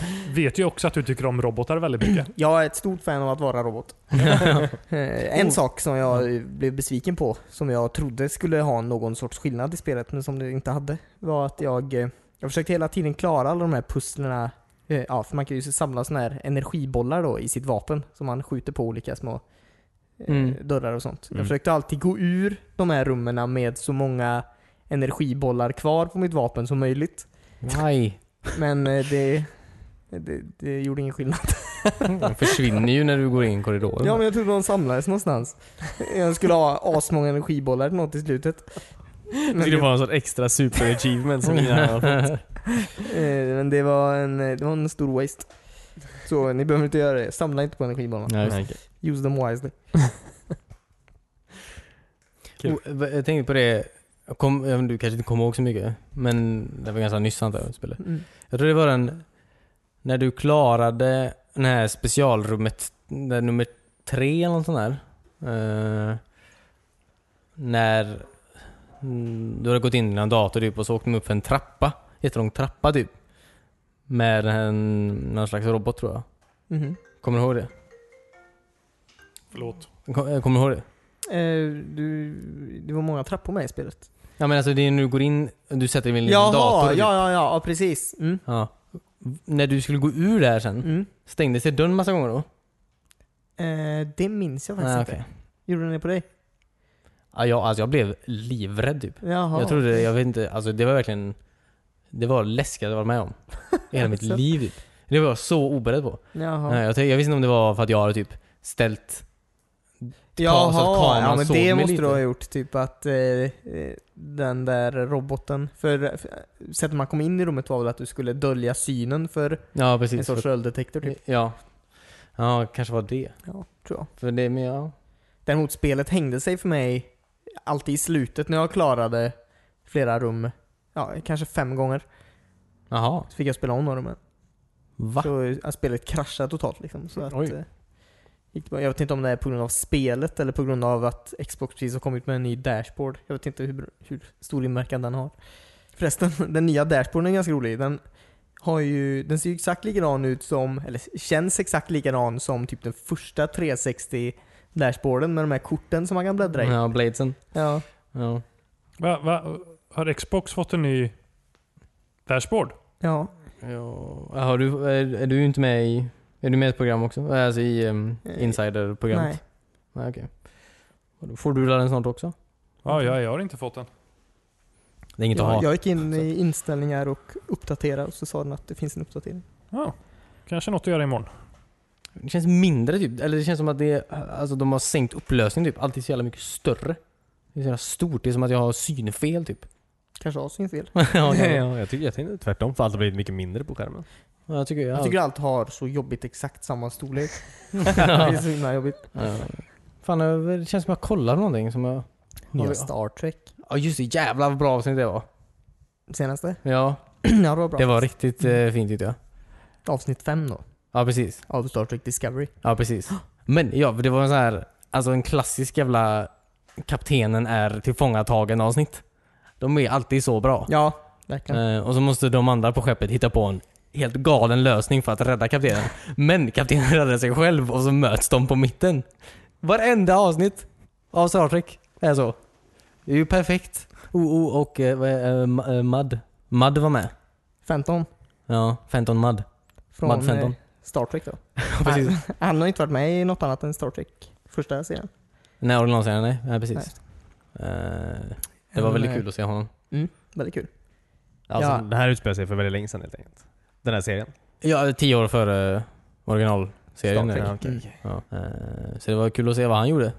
S1: vet ju också att du tycker om robotar väldigt mycket.
S2: Jag är ett stort fan av att vara robot. Eh, en sak som jag blev besviken på, som jag trodde skulle ha någon sorts skillnad i spelet, men som det inte hade, var att jag, eh, jag försökte hela tiden klara alla de här pusslerna. Eh, ja, för man kan ju samla såna här energibollar då i sitt vapen som man skjuter på olika små eh,
S4: Mm.
S2: dörrar och sånt.
S3: Mm.
S2: Jag försökte alltid gå ur de här rummen med så många energibollar kvar på mitt vapen som möjligt.
S4: Nej.
S2: Men eh, det, det, det gjorde ingen skillnad.
S4: De försvinner ju när du går in i korridoren.
S2: Ja men jag trodde de samlades någonstans. Jag skulle ha asmånga energibollar eller något i slutet.
S3: Det
S2: Men
S3: skulle
S2: det,
S3: vara en sån extra super-achievement som ingen annan har fått.
S2: eh, men det var en, eh, det var en stor waste. Så ni behöver inte göra det. Samla inte på energibollarna.
S4: Ja, just det.
S2: Use them wisely.
S3: Kul.
S4: Och, v- Jag tänkte på det, jag kom, jag vet inte, du kanske inte kommer ihåg så mycket, men det var ganska nyss antar jag, spelet.
S2: Mm.
S4: Jag tror det var den, när du klarade det här specialrummet, där nummer tre eller något sånt där. Eh, när mm, du hade gått in i en dator typ, och så åkte de upp för en trappa, jättelång trappa typ. Med en, någon slags robot tror jag.
S2: Mhm.
S4: Kommer du ihåg det?
S1: Förlåt.
S4: Kom- Kommer du ihåg det?
S2: Eh, du, det var många trappor med i spelet.
S4: Ja men alltså det är när du går in, du sätter dig vid en liten
S2: Jaha,
S4: dator.
S2: ja,
S4: typ.
S2: ja, ja, ja precis. Mm.
S4: Ja. V- När du skulle gå ur där sen,
S2: Mm.
S4: stängde sig dörren massa gånger då?
S2: Eh, det minns jag faktiskt
S4: Ah,
S2: inte.
S4: okej.
S2: Gjorde den det på dig?
S4: ja, jag, alltså jag blev livrädd typ.
S2: Jaha.
S4: Jag trodde, jag vet inte, alltså det var verkligen Det var läskigt att vara med om. I hela mitt
S2: Alltså.
S4: liv typ. Det var jag så oberedd på.
S2: Jaha.
S4: Nej, Jag, tänkte- jag visste inte om det var för att jag hade typ ställt
S2: Jaha,
S4: så att kameran
S2: ja men
S4: såg mig
S2: det måste
S4: lite.
S2: du ha gjort. Typ att eh, eh, den där roboten, för, för sättet man kom in i rummet var väl att du skulle dölja synen för
S4: Ja
S2: en
S4: precis.
S2: sorts
S4: för-
S2: skölddetektor typ.
S4: ja. ja, kanske var det.
S2: Ja, tror jag.
S4: För det, men ja.
S2: Däremot spelet hängde sig för mig alltid i slutet när jag klarade flera rum, ja kanske fem gånger.
S4: Jaha.
S2: Så fick jag spela om några rum.
S4: Va?
S2: Så eh, spelet kraschade totalt liksom. Så att,
S3: Oj.
S2: eh, gick det bra. jag vet inte om det är på grund av spelet eller på grund av att Xbox precis har kommit med en ny dashboard. Jag vet inte hur, hur stor inverkan den har. Förresten, den nya dashboarden är ganska rolig. Den, har ju, den ser ju exakt likadan ut som, eller känns exakt likadan som typ den första 360 dashboarden med de här korten som man kan bläddra i.
S4: Ja, bladesen.
S2: Ja.
S4: Ja.
S1: Va, va, har Xbox fått en ny dashboard?
S2: ja.
S4: Ja, har du, är, är du inte med i... Är du med i ett program också? Alltså i um,
S2: Eh,
S4: insiderprogrammet?
S2: Nej.
S4: Nej, okej. Och då Får du den snart också?
S1: Ja, jag, jag har inte fått den.
S4: Det är inget att ha.
S2: Jag, jag gick in i inställningar och uppdatera och så sa den att det finns en uppdatering.
S1: Ja. Kanske något att göra imorgon.
S4: Det känns mindre typ. Eller det känns som att det, alltså, de har sänkt upplösningen typ. Allt är så jävla mycket större. Det är så jävla stort. Det är som att jag har synfel typ.
S2: Kanske har sin fel.
S4: ja,
S3: Ja,
S4: ja.
S3: ja, jag, tycker, jag tänkte tvärtom, för allt har blivit mycket mindre på skärmen.
S4: Jag tycker... Jag,
S2: Jag tycker allt har så jobbigt exakt samma storlek. det är så himla jobbigt.
S4: ja. Fan, jag- det känns som att jag kollar på någonting som jag...
S2: Nya
S4: Ja.
S2: Star Trek.
S4: Ja just det, jävlar vad bra avsnitt det var.
S2: Senaste?
S4: Ja,
S2: ja det var bra. Mm.
S4: det var riktigt eh, fint tyckte jag.
S2: Avsnitt 5 då.
S4: Ja precis.
S2: Av Star Trek Discovery.
S4: Ja, precis. Men ja, för det var en sån här, alltså en klassisk jävla kaptenen är tillfångatagen avsnitt. De är alltid så bra.
S2: Ja, verkligen.
S4: Eh, och så måste de andra på skeppet hitta på en helt galen lösning för att rädda kaptenen. Men kaptenen räddar sig själv och så möts de på mitten. Varenda avsnitt av Star Trek är så. Det är ju perfekt. OO och eh, vad är- eh, M- eh, Mud. Mud var med.
S2: Fenton.
S4: Ja, Fenton Mud.
S2: Från
S4: Mad Fenton.
S2: eh, Star Trek då.
S4: precis.
S2: Han, han har inte varit med i något annat än Star Trek första serien.
S4: Nej, originalserien, nej. nej precis. Eh, det var
S2: Men,
S4: väldigt
S2: eh,
S4: kul att se honom.
S2: Väldigt kul.
S3: Alltså,
S2: Ja.
S3: Det här utspelar sig för väldigt länge sedan helt enkelt. Den här serien.
S4: Ja, tio år före originalserien.
S3: Star Trek.
S4: är det.
S3: okej,
S2: Mm.
S4: Ja. Eh, så det var kul att se vad han gjorde.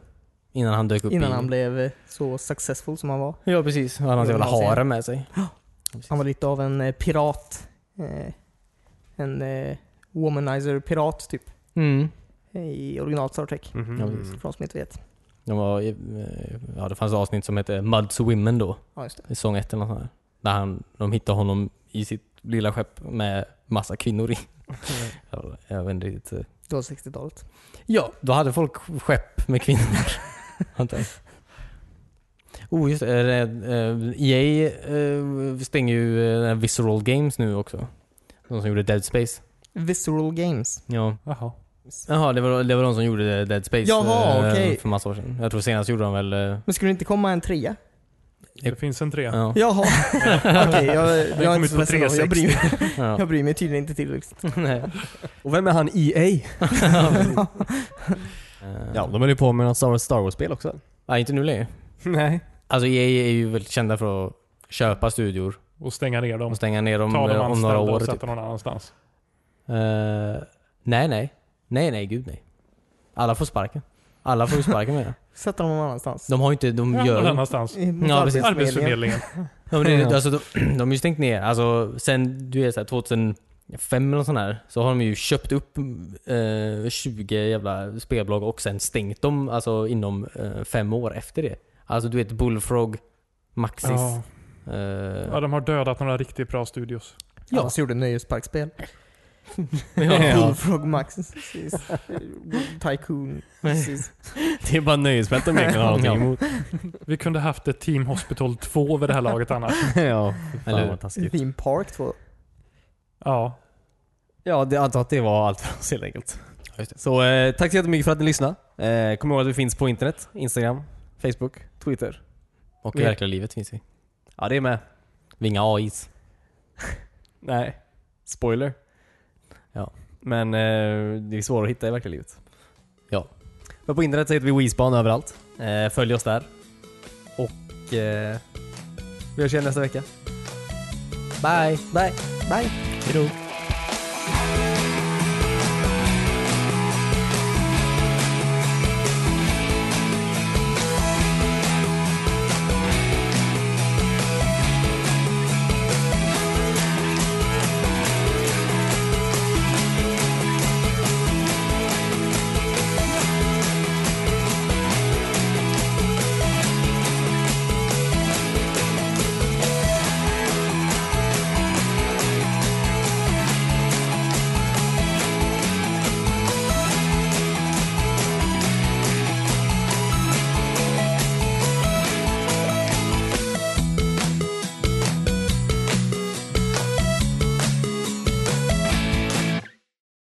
S4: Innan han dök upp
S2: Innan
S4: i...
S2: han blev eh, så successful som han var.
S4: Ja, precis. Och han hade jävla
S2: Originalserien.
S4: hare med sig.
S2: Han var lite av en eh, pirat. Eh, en eh, womanizer-pirat typ.
S4: Mm.
S2: eh, I original Star Trek.
S3: Mhm.
S4: Ja,
S2: För de som inte vet.
S4: De var, i- eh, ja, det fanns ett avsnitt som hette Muds Women då,
S2: Ja, just det.
S4: i säsong ett eller något sånt där. Där han, de hittade honom i sitt lilla skepp med massa kvinnor i. Ja, Jag vet inte riktigt. eh.
S2: Det var 60-talet.
S4: Ja, då hade folk skepp med kvinnor. Antar jag. oh, just det. eh, eh, EA eh, stänger ju eh, den här Visceral Games nu också. De som gjorde Dead Space.
S2: Visceral Games.
S4: Ja.
S1: Jaha.
S4: Jaha, det var, det var de som gjorde Dead Space
S2: Jaha,
S4: eh,
S2: okej.
S4: för massa år sedan. Jag tror senast gjorde de väl... eh,
S2: Men skulle det inte komma en trea?
S1: Det finns en trea.
S4: Ja.
S2: Jaha. Okej, jag, jag
S1: kom
S2: är
S1: ut
S2: inte så
S1: på
S2: ledsen. då. Jag bryr, mig-
S4: ja.
S2: jag bryr mig tydligen inte tillräckligt.
S4: Nej.
S3: Och vem är han E EA? Ja,
S4: ja,
S3: de höll ju på med något Star Star Wars-spel också.
S4: inte nu längre.
S3: Nej.
S4: Alltså EA är ju väldigt kända för att köpa studior
S1: Och stänga ner dem.
S4: och stänga ner dem
S1: Ta
S4: eh,
S1: de
S4: om några
S1: anställda
S4: år.
S1: och
S4: Typ.
S1: sätta någon annanstans.
S4: Eh, nej, nej. Nej, nej, gud nej. Alla får sparken. Alla får ju sparken med det.
S2: Sätta dem någon annanstans.
S4: De har ju inte, de
S1: Ja,
S4: gör
S1: någon
S4: ju
S1: annanstans.
S2: I- mot
S4: Ja, precis.
S2: Arbetsförmedlingen.
S1: Arbetsförmedlingen.
S4: Ja, men det,
S3: Ja.
S4: alltså, de, de har ju stängt ner. Alltså, sen du är så här, 2005 eller sån här, så har de ju köpt upp eh, 20 jävla spelbolag och sen stängt dem alltså, inom eh, fem år efter det. Alltså du vet Bullfrog, Maxis.
S1: Ja.
S4: eh,
S1: ja, de har dödat några riktigt bra studios.
S2: Ja. Annars gjorde nöjesparkspel.
S3: Ja.
S2: Bullfrog Max. precis. Tycoon. Precis.
S3: Det är bara nöjesfält de egentligen har någonting
S4: Ja.
S3: emot.
S1: Vi kunde haft ett Team Hospital 2 vid det här laget annars.
S3: ja, fan
S4: Eller hur?
S3: vad taskigt.
S2: Theme Park 2.
S1: Ja.
S3: Ja, det, jag antar att det var allt för oss helt enkelt.
S4: just det.
S3: Så eh, tack så jättemycket för att ni lyssnade. Eh, kom ihåg att vi finns på internet, Instagram, Facebook, Twitter.
S4: och i
S3: Ja.
S4: verkliga livet finns vi.
S3: Ja, det är med.
S4: Vinga AIs.
S3: Nej, spoiler.
S4: Ja.
S3: Men eh, det är svårare att hitta i verkliga livet.
S4: Ja.
S3: Men på internet så heter vi Weespan överallt. Eh, följ oss där. Och eh, vi hörs igen nästa vecka.
S4: Bye!
S3: Bye!
S2: Bye!
S4: Hejdå!